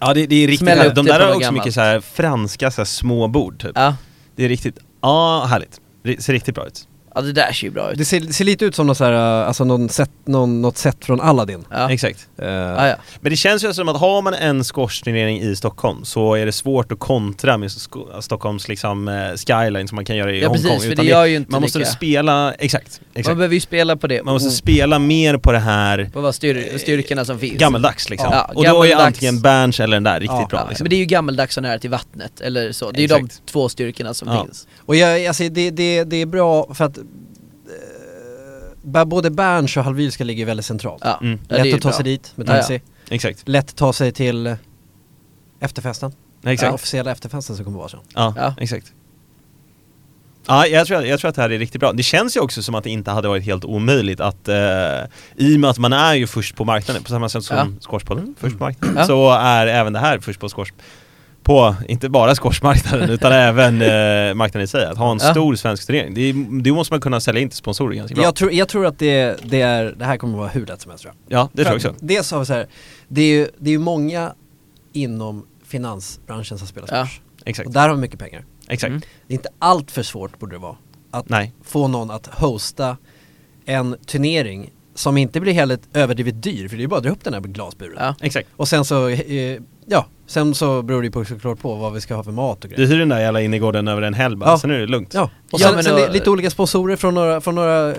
Speaker 3: ja det, det är riktigt
Speaker 2: Smälla
Speaker 3: härligt.
Speaker 2: upp
Speaker 3: De
Speaker 2: det
Speaker 3: där
Speaker 2: på
Speaker 3: har
Speaker 2: något
Speaker 3: också mycket
Speaker 2: gammalt.
Speaker 3: såhär franska såhär, små bord typ.
Speaker 2: Ja.
Speaker 3: Det är riktigt, ja härligt. Det ser riktigt bra ut.
Speaker 2: ja, det där ser ju bra ut.
Speaker 1: Det ser, det ser lite ut som något, så här, eh, alltså någon set, någon, något set från Aladdin.
Speaker 2: Ja.
Speaker 3: Exakt.
Speaker 1: Eh,
Speaker 2: Ja, ja.
Speaker 3: Men det känns ju som att har man en squashturnering i Stockholm så är det svårt att kontra med sko- Stockholms liksom, eh, skyline som man kan göra i
Speaker 2: Ja,
Speaker 3: Hongkong.
Speaker 2: precis, för
Speaker 3: utan
Speaker 2: det gör ju inte
Speaker 3: man måste
Speaker 2: lika.
Speaker 3: spela, exakt,
Speaker 2: Man
Speaker 3: exakt.
Speaker 2: behöver ju spela på det.
Speaker 3: Man måste Eh,
Speaker 2: Oh,
Speaker 3: spela mer på det här
Speaker 2: på vad styr, styrkorna som finns.
Speaker 3: gammeldags liksom.
Speaker 2: Ja,
Speaker 3: och då är ju
Speaker 2: gammeldags.
Speaker 3: antingen Berns eller den där riktigt
Speaker 1: Ja,
Speaker 3: bra
Speaker 2: Ja,
Speaker 3: liksom.
Speaker 2: Men det är ju gammeldags och nära till vattnet, eller så. Det är ju de
Speaker 3: Exakt.
Speaker 2: två styrkorna som
Speaker 3: Ja.
Speaker 2: finns.
Speaker 1: Och jag, alltså, det, det, det är bra för att eh, ba- både Berns och Hallwylska ligger väldigt centralt.
Speaker 2: Ja,
Speaker 3: Mm.
Speaker 2: ja, det är
Speaker 1: Lätt
Speaker 2: ju
Speaker 1: att ta
Speaker 2: bra.
Speaker 1: sig dit med
Speaker 2: Ja, ja.
Speaker 1: taxi.
Speaker 3: Exakt,
Speaker 1: Lätt att ta sig till eh, efterfesten. Den
Speaker 3: exakt.
Speaker 1: officiella efterfesten som kommer vara sen.
Speaker 3: Ja,
Speaker 2: Ja.
Speaker 3: exakt. Ja, jag tror, jag tror att det här är riktigt bra. Det känns ju också som att det inte hade varit helt omöjligt att, eh, i och med att man är ju först på marknaden, på samma sätt som
Speaker 2: Ja. Mm.
Speaker 3: squashpodden, först på marknaden,
Speaker 2: Ja.
Speaker 3: så är även det här först på squash, på, inte bara squashmarknaden utan även eh, marknaden i sig. Att ha en
Speaker 2: Ja.
Speaker 3: stor svensk turnering, det, är- det måste man kunna sälja in till sponsorer ganska bra.
Speaker 1: Jag tror, jag tror att det, det, är, det här kommer att vara hur lätt som helst tror jag.
Speaker 3: ja, det tror jag
Speaker 1: För
Speaker 3: också.
Speaker 1: att Dels har vi så här, det är ju det är ju många inom finansbranschen som spelar
Speaker 2: Ja,
Speaker 1: squash.
Speaker 3: Exakt,
Speaker 1: Och där har vi mycket pengar.
Speaker 3: exakt.
Speaker 2: Mm.
Speaker 1: Det är inte allt för svårt borde det vara. Att
Speaker 3: Nej.
Speaker 1: få någon att hosta en turnering som inte blir helt överdrivet dyr, för det är ju bara att dra upp den här glasburen.
Speaker 2: Ja.
Speaker 3: Exakt.
Speaker 1: Och sen så, eh, ja, sen så beror det ju på, såklart på vad vi ska ha för mat och
Speaker 3: Du
Speaker 1: grejer.
Speaker 3: hyr den där jävla innergården över en helg bara,
Speaker 1: Ja.
Speaker 3: sen är det lugnt.
Speaker 1: Ja, och
Speaker 2: Ja,
Speaker 1: sen,
Speaker 2: men
Speaker 1: sen
Speaker 2: då-
Speaker 1: li- lite olika sponsorer från några, från några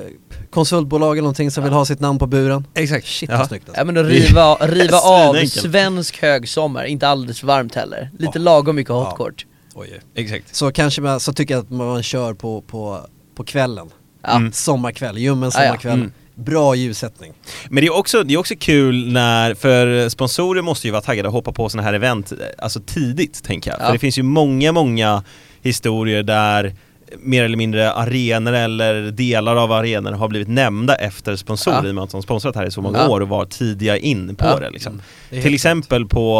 Speaker 1: konsultbolag eller någonting som vill ha sitt namn på buren.
Speaker 3: Exakt.
Speaker 1: Shit
Speaker 3: Ja.
Speaker 1: vad snyggt alltså.
Speaker 2: Ja men att riva, riva av
Speaker 3: Svinenkelt.
Speaker 2: svensk högsommar, inte alldeles varmt heller. Lite
Speaker 1: Ja.
Speaker 2: lagom mycket
Speaker 1: Ja.
Speaker 2: hotcourt.
Speaker 1: Oj, oj.
Speaker 3: Exakt.
Speaker 1: Så kanske man, så tycker jag att man kör på, på, på kvällen.
Speaker 2: Ja.
Speaker 3: Mm.
Speaker 1: Sommarkväll, ljummen
Speaker 2: Ja, ja.
Speaker 1: sommarkväll.
Speaker 3: Mm.
Speaker 1: Bra ljussättning.
Speaker 3: Men det är också, det är också kul när, för sponsorer måste ju vara taggade och hoppa på sådana här event, eh, alltså tidigt tänker jag.
Speaker 2: Ja.
Speaker 3: För det finns ju många, många historier där mer eller mindre arenor eller delar av arenor har blivit nämnda efter sponsorer
Speaker 2: Ja.
Speaker 3: i och med att de sponsrat här i så många
Speaker 2: Ja.
Speaker 3: år och var tidiga in på
Speaker 2: Ja.
Speaker 3: det liksom.
Speaker 1: Mm. Det är helt
Speaker 3: Till exempel på,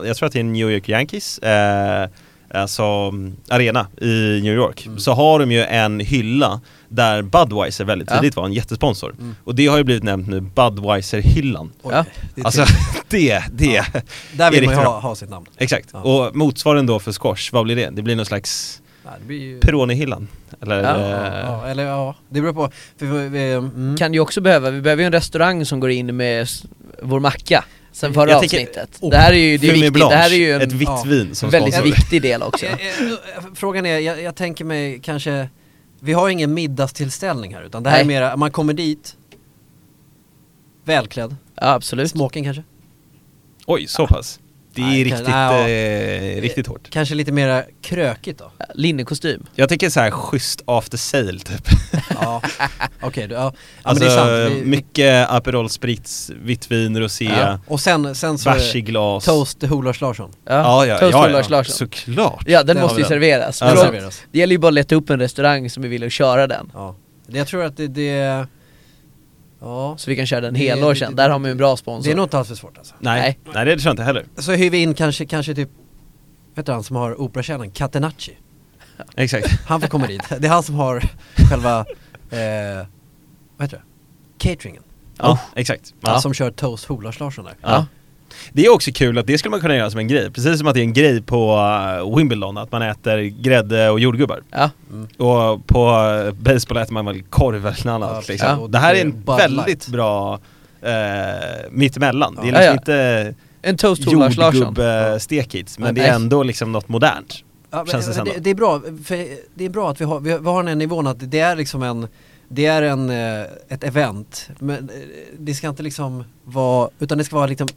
Speaker 3: eh, jag tror att det är New York Yankees, eh, alltså mm, arena i New York,
Speaker 2: Mm.
Speaker 3: så har de ju en hylla där Budweiser väldigt
Speaker 2: Ja. Mm.
Speaker 3: tidigt var en jättesponsor. Och det har ju blivit nämnt nu, Budweiser-hyllan.
Speaker 1: Oj,
Speaker 2: Ja.
Speaker 1: det är
Speaker 3: Alltså
Speaker 1: trevligt.
Speaker 3: det, det,
Speaker 1: Där vill man ju
Speaker 3: är riktigt
Speaker 1: ha, ha sitt namn.
Speaker 3: exakt.
Speaker 1: Ja.
Speaker 3: Och motsvaren då för squash, vad blir det? Det blir någon slags
Speaker 1: Ja, det blir ju...
Speaker 3: Peroni-hyllan? Eller?
Speaker 2: Ja.
Speaker 1: ja,
Speaker 3: eh,
Speaker 1: ja, eller ja, det beror på. För, vi- vi- mm.
Speaker 2: Kan ju också behöva, vi behöver ju en restaurang som går in med s- vår macka sen förra
Speaker 3: Jag tänker-
Speaker 2: avsnittet.
Speaker 1: Oh.
Speaker 2: det här är ju, det är
Speaker 3: Fumé
Speaker 2: viktigt, det här är ju
Speaker 3: ett
Speaker 2: en
Speaker 3: vitt
Speaker 1: ja,
Speaker 3: vin som
Speaker 2: väldigt
Speaker 3: sponsor.
Speaker 2: viktig del också.
Speaker 1: Eh, eh, Frågan är, jag, jag tänker mig kanske, vi har ingen middagstillställning här utan det här är
Speaker 2: Nej.
Speaker 1: mera, man kommer dit, välklädd,
Speaker 2: Ja absolut.
Speaker 1: smoking kanske,
Speaker 3: Oj, så pass. Det är
Speaker 1: Nej, kan-
Speaker 3: riktigt,
Speaker 1: nej,
Speaker 3: eh, riktigt hårt.
Speaker 1: kanske lite mera krökigt då?
Speaker 2: Linnekostym.
Speaker 3: Jag tänker så här schysst after sale typ.
Speaker 1: Ja, okej, du- ja. ja
Speaker 3: alltså
Speaker 1: men det är sant. Vi-
Speaker 3: mycket Aperol Spritz, vitt vin, rosé, Alltså,
Speaker 2: Ja.
Speaker 1: och sen, sen så,
Speaker 3: bärs i glas.
Speaker 1: toast till Lars Larsson.
Speaker 3: Ja, ja,
Speaker 2: Toast
Speaker 3: ja,
Speaker 2: från
Speaker 3: ja.
Speaker 2: Lars Larsson.
Speaker 3: Såklart.
Speaker 2: Ja den
Speaker 1: Där har
Speaker 2: måste
Speaker 1: vi
Speaker 2: ju
Speaker 1: den.
Speaker 2: serveras.
Speaker 3: Ja,
Speaker 2: Men
Speaker 3: den
Speaker 2: då-
Speaker 1: serveras.
Speaker 2: Det gäller ju bara att leta upp en restaurang som vi vill och köra den.
Speaker 1: Ja. Det- Jag tror att det, det ja,
Speaker 2: Så vi kan köra den
Speaker 1: Det-
Speaker 2: helår sen, där har man ju en bra sponsor.
Speaker 1: det är nog inte alls för svårt alltså.
Speaker 3: Nej, nej det tror jag inte heller.
Speaker 1: Så hyr vi in kanske, kanske typ, vet du han som har operakärnan, Catenacci?
Speaker 3: Exakt.
Speaker 1: Han får komma dit. Det är han som har själva, eh, vad heter det? Cateringen.
Speaker 3: Ja, exakt. Ja.
Speaker 1: Han som kör toast hos Lars Larsson där.
Speaker 3: Ja. Det är också kul att det skulle man kunna göra som en grej, precis som att det är en grej på eh, Wimbledon att man äter grädde och jordgubbar.
Speaker 2: Ja.
Speaker 3: Och på eh, baseball äter man väl korv eller något
Speaker 1: Ja,
Speaker 3: annat
Speaker 1: precis.
Speaker 3: liksom.
Speaker 1: Ja.
Speaker 3: Det här är
Speaker 1: Och
Speaker 3: en
Speaker 1: Bud Light.
Speaker 3: väldigt bra eh, mittemellan. Det är
Speaker 1: Ja.
Speaker 3: liksom
Speaker 2: Ja, ja.
Speaker 3: inte
Speaker 2: En toast från Lars Larsson.
Speaker 3: jordgubb-stekigt, eh, men
Speaker 2: Nej.
Speaker 3: det är ändå liksom något modernt.
Speaker 1: Ja, men,
Speaker 3: Känns det sen
Speaker 1: det,
Speaker 3: då.
Speaker 1: det är bra, för det är bra att vi har, vi, vi har den här nivån att det är liksom en, det är en, eh, ett event, men eh, det ska inte liksom vara, utan det ska vara liksom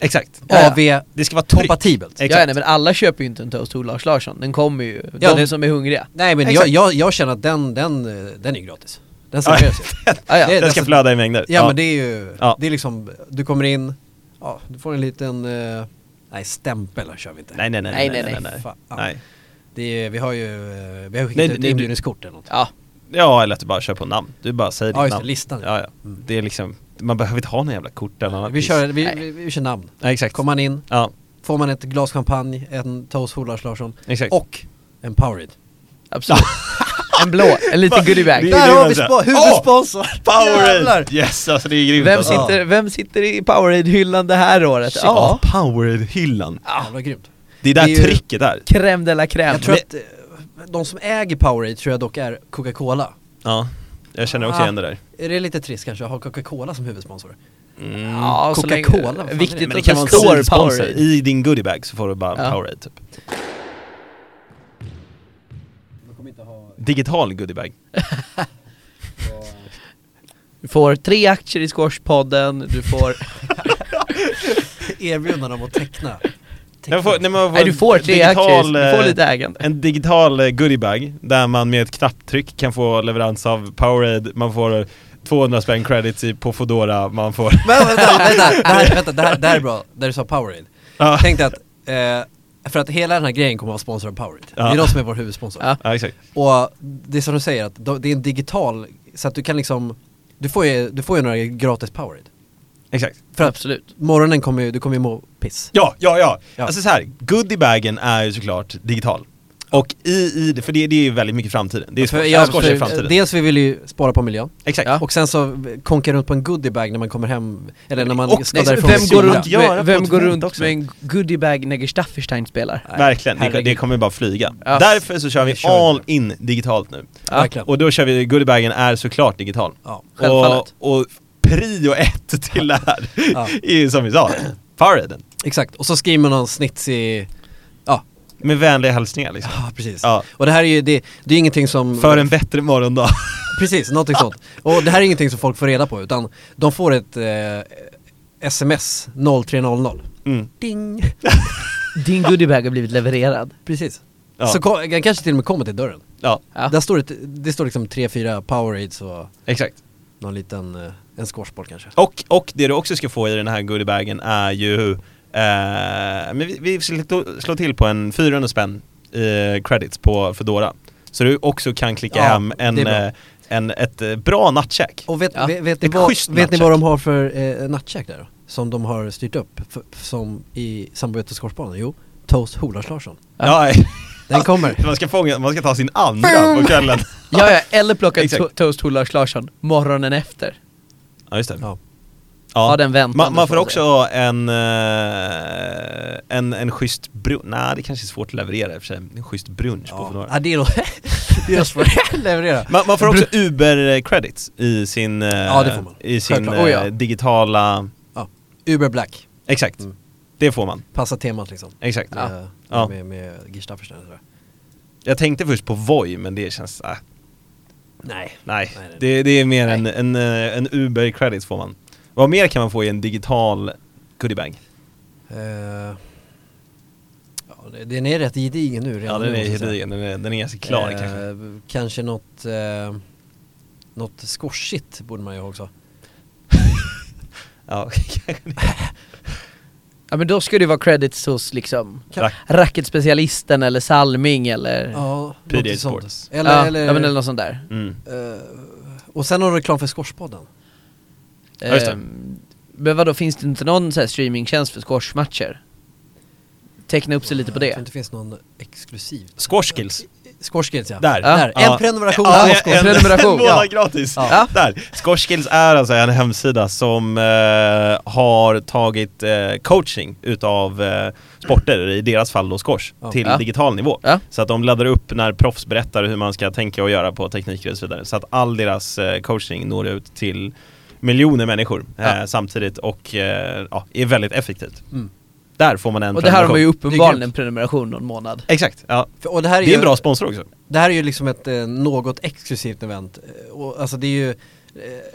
Speaker 3: Exakt.
Speaker 2: Ja, ja.
Speaker 3: Det ska vara tryck.
Speaker 1: AV-kompatibelt.
Speaker 3: Exakt.
Speaker 2: Ja, nej, men alla köper ju inte en toast hos Lars Larsson, den kommer ju,
Speaker 1: Ja,
Speaker 2: de
Speaker 1: det-
Speaker 2: som är hungriga.
Speaker 1: Nej men jag,
Speaker 3: Exakt.
Speaker 1: jag, jag känner att den, den, eh, den är ju gratis. Den
Speaker 3: Ja.
Speaker 1: serveras ju.
Speaker 2: Ah, ja.
Speaker 1: Det är-
Speaker 3: Den ska flöda i mängder.
Speaker 1: Ja men det är ju,
Speaker 3: Ja.
Speaker 1: det är liksom, du kommer in, ja, du får en liten eh, Nej, stämpel kör vi inte.
Speaker 3: Nej nej nej nej
Speaker 2: Nej,
Speaker 3: nej
Speaker 2: nej,
Speaker 3: nej. nej,
Speaker 1: Fan.
Speaker 3: nej.
Speaker 1: Det är, vi har ju, eh, vi har ju skickat
Speaker 3: Nej,
Speaker 1: ut
Speaker 3: nej,
Speaker 1: inbjudningskort eller något.
Speaker 2: Ja,
Speaker 3: Ja eller att du bara kör på namn, du bara säger
Speaker 1: Ja,
Speaker 3: ditt
Speaker 1: just det,
Speaker 3: namn
Speaker 1: listan.
Speaker 3: Ja, ja.
Speaker 1: Mm.
Speaker 3: Det är liksom, man behöver inte ha några jävla kort eller annat
Speaker 1: Vi
Speaker 3: piss.
Speaker 1: kör, vi,
Speaker 2: Nej.
Speaker 1: vi, vi kör namn.
Speaker 3: Ja exakt
Speaker 1: Kommer man in,
Speaker 3: Ja,
Speaker 1: får man ett glas champagne, en toast för Lars Larsson
Speaker 3: exakt
Speaker 1: och en Powerade.
Speaker 2: absolut. en blå, en liten goodiebag.
Speaker 3: Det är
Speaker 1: Där har vi
Speaker 3: grymt,
Speaker 1: spo-
Speaker 3: alltså.
Speaker 1: huvudsponsor!
Speaker 3: Powerade!
Speaker 1: Jävlar!
Speaker 3: Yes alltså det är grymt
Speaker 2: Vem
Speaker 3: alltså.
Speaker 2: sitter, vem sitter i Powerade-hyllan det här året?
Speaker 3: Shit.
Speaker 2: Ja,
Speaker 3: Ja, Powerade-hyllan
Speaker 1: Jävlar grymt.
Speaker 3: Det är där
Speaker 1: Det är ju-
Speaker 3: tricket är
Speaker 2: crème de la crème.
Speaker 1: Jag tror att eh, de som äger Powerade tror jag dock är Coca-Cola.
Speaker 3: Ja, jag känner också
Speaker 1: Ah.
Speaker 3: igen det där
Speaker 1: Är det lite trist kanske att ha Coca-Cola som huvudsponsor?
Speaker 3: Mm.
Speaker 2: ja, så länge-
Speaker 1: Coca-Cola, vad fan är det?
Speaker 2: viktigt
Speaker 3: Men det
Speaker 2: att
Speaker 3: kan
Speaker 2: det
Speaker 3: vara en
Speaker 2: står
Speaker 3: sidsponsor,
Speaker 2: Powerade.
Speaker 3: i din goodiebag så får du bara en
Speaker 2: Ja.
Speaker 3: Powerade typ Digital goodiebag
Speaker 2: Du får tre aktier i Squashpodden, du får...
Speaker 1: Erbjudande om att teckna.
Speaker 3: Jag får, nej, men jag
Speaker 2: nej du får
Speaker 3: en eh,
Speaker 2: tre aktier, du får lite ägande.
Speaker 3: En digital eh, goodiebag där man med ett knapptryck kan få leverans av Powerade, man får 200 spänn credits i- på Foodora, man får...
Speaker 1: Men vänta, vänta, det här, vänta, det här, det här är bra, där du sa Powerade.
Speaker 3: Ja,
Speaker 1: Jag tänkte att, eh, för att hela den här grejen kommer att vara sponsrad av Powerade. Det
Speaker 3: Ja.
Speaker 1: är de som är vår huvudsponsor.
Speaker 2: Ja.
Speaker 3: ja exakt.
Speaker 1: Och det är som du säger, att då- det är en digital, så att du kan liksom, du får ju, du får ju några gratis Powerade.
Speaker 3: Exakt.
Speaker 1: För att
Speaker 2: Absolut.
Speaker 1: morgonen kommer ju, du kommer ju må piss.
Speaker 3: Ja, ja, ja.
Speaker 1: Ja.
Speaker 3: Alltså så här, goodiebagen är ju såklart digital. Och i, i det, för det, det är ju väldigt mycket framtiden. Det är ju
Speaker 1: För-
Speaker 3: skoj-
Speaker 1: ja,
Speaker 3: skoj i
Speaker 1: för-
Speaker 3: framtiden.
Speaker 1: Dels vi vill ju spara på miljön,
Speaker 3: exakt.
Speaker 2: Ja.
Speaker 1: och sen så konkar runt på en goodiebag när man kommer hem, eller när man
Speaker 3: Och-
Speaker 1: ska
Speaker 3: nej, så
Speaker 1: därifrån
Speaker 2: Vem
Speaker 1: och
Speaker 2: går
Speaker 1: sola.
Speaker 2: runt,
Speaker 3: göra på
Speaker 2: med, vem
Speaker 3: ett
Speaker 2: går
Speaker 3: event
Speaker 2: runt
Speaker 3: också?
Speaker 2: med en goodiebag Neger Stafferstein spelar?
Speaker 1: Nej,
Speaker 3: Verkligen, det,
Speaker 1: herregud.
Speaker 3: det kommer ju bara flyga.
Speaker 2: Ja.
Speaker 3: Därför så kör vi
Speaker 1: Det kör vi.
Speaker 3: all in digitalt nu.
Speaker 2: Ja.
Speaker 1: Verkligen.
Speaker 3: Och då kör vi, goodiebagen är såklart digital.
Speaker 1: Ja.
Speaker 2: Självfallet.
Speaker 3: Och, och prio ett till det här
Speaker 1: Ja.
Speaker 3: är ju som vi sa, Faraden.
Speaker 1: Exakt, och så skriver man någon snitsig, ja,
Speaker 3: Med vänliga hälsningar liksom.
Speaker 1: ja precis.
Speaker 3: Ja.
Speaker 1: Och det här är ju, det, det är ingenting som...
Speaker 3: För en bättre morgondag.
Speaker 1: Precis, någonting sånt. Och det här är ingenting som folk får reda på utan de får ett eh, sms 0300.
Speaker 3: Mm.
Speaker 1: Ding!
Speaker 2: Din goodiebag har blivit levererad.
Speaker 1: Precis.
Speaker 3: Ja.
Speaker 1: Så ko- den kanske till och med kommer till dörren.
Speaker 3: Ja,
Speaker 2: Ja.
Speaker 1: Där står det, det står liksom tre, fyra powerades och
Speaker 3: exakt.
Speaker 1: någon liten, eh, en squashboll kanske.
Speaker 3: Och, och det du också ska få i den här goodiebagen är ju, eh, men vi, vi slår slå till på en 400 spänn eh, credits på Foodora. Så du också kan klicka
Speaker 1: Ja,
Speaker 3: hem en,
Speaker 1: det är bra.
Speaker 3: eh, en, ett eh, bra nattkäk.
Speaker 1: Och vet,
Speaker 2: Ja.
Speaker 1: vet, vet, ni,
Speaker 3: Ett schysst
Speaker 1: vad, vet ni
Speaker 3: nattcheck.
Speaker 1: vad de har för eh, nattcheck där då? Som de har styrt upp, för, som i samarbete med squashbollen? Jo, Toast Holas Larsson.
Speaker 3: Ja.
Speaker 1: Den kommer.
Speaker 3: man, ska fånga, man ska ta sin andra på kvällen.
Speaker 2: Ja, ja, eller plocka
Speaker 3: Exakt.
Speaker 2: to- toast till Lars Larsson morgonen efter.
Speaker 3: Ja, just det.
Speaker 1: Ja.
Speaker 2: Ja, den väntan
Speaker 3: man, man
Speaker 2: får
Speaker 3: får
Speaker 2: man
Speaker 3: också en, eh, en, en schysst brunch, nej det kanske är svårt att leverera i och för sig, en schysst brunch på
Speaker 1: Ja,
Speaker 3: Foodora.
Speaker 1: ja det är nog, det är nog svårt att leverera.
Speaker 3: Man, man får också Uber-credits i sin, eh,
Speaker 1: Ja, det får man.
Speaker 3: i sin
Speaker 1: Självklart.
Speaker 2: Oh, ja.
Speaker 3: eh, digitala,
Speaker 1: Ja, Uber Black.
Speaker 3: exakt,
Speaker 1: Mm.
Speaker 3: det får man,
Speaker 1: Passa temat liksom.
Speaker 3: exakt.
Speaker 2: Ja.
Speaker 1: Med,
Speaker 3: Ja.
Speaker 1: med, med Gistafferstein tror jag.
Speaker 3: Jag tänkte först på Voi men det känns, äh,
Speaker 1: Nej.
Speaker 3: nej,
Speaker 1: Nej, nej, nej.
Speaker 3: det, det är mer
Speaker 2: Nej.
Speaker 3: en, en, eh, en Uber-credits får man. Vad mer kan man få i en digital goodiebag?
Speaker 1: Eh, ja, det- den är rätt gedigen nu
Speaker 3: Ja
Speaker 1: redan
Speaker 3: den
Speaker 1: nu,
Speaker 3: är
Speaker 1: måste jag säga.
Speaker 3: gedigen, den är, den är ganska klar
Speaker 1: Eh,
Speaker 3: kanske.
Speaker 1: Kanske något, eh, något skorsigt borde man ju ha också.
Speaker 3: Mm. Ja,
Speaker 2: Ja men då ska det vara credits hos liksom
Speaker 1: Kan,
Speaker 2: racketspecialisten eller Salming eller...
Speaker 1: ja,
Speaker 3: PDA
Speaker 1: något sånt.
Speaker 3: Sports.
Speaker 1: Eller,
Speaker 2: ja,
Speaker 1: eller,
Speaker 2: ja, men eller något sånt där.
Speaker 3: mm.
Speaker 1: eh, och sen har du reklam för Skorspodden.
Speaker 3: Ja, just det.
Speaker 2: Ehm, Men vadå, finns det inte någon så här streamingtjänst för squashmatcher? Teckna upp sig lite på
Speaker 1: Jag tror
Speaker 2: det.
Speaker 1: inte det finns någon exklusiv.
Speaker 3: Squashkills.
Speaker 1: Skorskills ja.
Speaker 3: Där.
Speaker 1: Där.
Speaker 2: Ja.
Speaker 1: En prenumeration
Speaker 3: Ja,
Speaker 1: på
Speaker 3: en-
Speaker 1: Skorskills.
Speaker 3: en-
Speaker 2: Prenumeration.
Speaker 3: En månad
Speaker 2: Ja.
Speaker 3: gratis.
Speaker 1: Ja.
Speaker 2: Ja.
Speaker 3: Där. Squashkills är alltså en hemsida som eh, har tagit eh, coaching utav eh, sporter, i deras fall då squash,
Speaker 1: Ja.
Speaker 3: till
Speaker 2: Ja.
Speaker 3: digital nivå.
Speaker 2: Ja.
Speaker 3: Så att de laddar upp när proffs berättar hur man ska tänka och göra på tekniker och så vidare. Så att all deras eh, coaching når ut till miljoner människor eh,
Speaker 2: Ja.
Speaker 3: samtidigt och eh, ja, är väldigt effektivt.
Speaker 1: Mm.
Speaker 3: Där får man en
Speaker 2: Och det här har man ju
Speaker 3: prenumeration.
Speaker 2: uppenbarligen
Speaker 1: Det är
Speaker 2: en prenumeration någon månad.
Speaker 3: Exakt, ja.
Speaker 1: För- Och det här är
Speaker 3: Det är en
Speaker 1: ju-
Speaker 3: bra sponsor också.
Speaker 1: Det här är ju liksom ett eh, något exklusivt event. Eh, Och, alltså det är ju,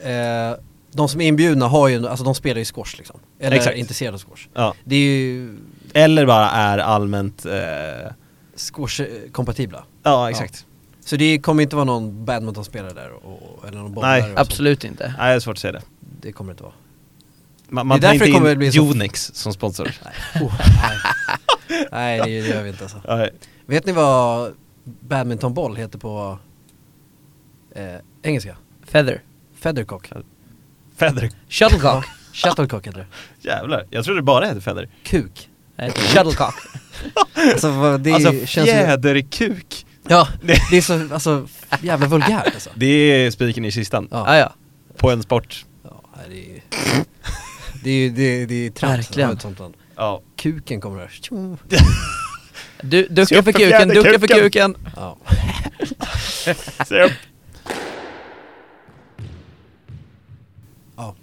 Speaker 1: eh, eh, de som är inbjudna har ju, alltså de spelar ju squash liksom. Eller
Speaker 3: Exakt.
Speaker 1: är intresserade av squash.
Speaker 3: Ja.
Speaker 1: Det är ju
Speaker 3: Eller bara är allmänt... Eh,
Speaker 1: squash-kompatibla.
Speaker 3: ja, exakt.
Speaker 1: Så det kommer inte vara någon badmintonspelare där och, och, eller någon bollare
Speaker 3: Nej,
Speaker 1: och sånt.
Speaker 2: Absolut inte.
Speaker 3: Nej, jag har svårt att säga det.
Speaker 1: Det kommer det inte vara.
Speaker 3: Man, man
Speaker 1: Det är
Speaker 3: tar
Speaker 1: därför
Speaker 3: inte
Speaker 1: det kommer
Speaker 3: in
Speaker 1: att bli så-
Speaker 3: Unix som sponsor.
Speaker 1: Oh, nej. nej, det gör vi inte alltså.
Speaker 3: Nej.
Speaker 1: Vet ni vad badmintonboll heter på eh, engelska?
Speaker 2: Feather.
Speaker 1: Feathercock.
Speaker 3: Feather.
Speaker 2: Shuttlecock.
Speaker 1: Shuttlecock heter det.
Speaker 3: Jävlar, jag trodde det bara hette feather.
Speaker 1: Kuk.
Speaker 2: Nej, Shuttlecock.
Speaker 1: Alltså vad- det
Speaker 3: alltså
Speaker 1: känns ju,
Speaker 3: fjäderkuk.
Speaker 1: Ja, det är så alltså, jävla vulgärt alltså.
Speaker 3: Det är spiken i kistan.
Speaker 1: Ja.
Speaker 2: Ah, ja.
Speaker 3: På en sport.
Speaker 1: Ja, det är ju, det är, ju- det är, det är trams att
Speaker 2: Verkligen.
Speaker 1: ha ett sånt namn.
Speaker 3: Ja.
Speaker 1: Kuken kommer här. Tjong.
Speaker 2: Du,
Speaker 3: Se upp
Speaker 2: ducka för
Speaker 3: för
Speaker 2: kuken, ducka för
Speaker 3: fjäderkuken.
Speaker 2: kuken.
Speaker 1: Ja.
Speaker 3: Se upp.
Speaker 1: Ja.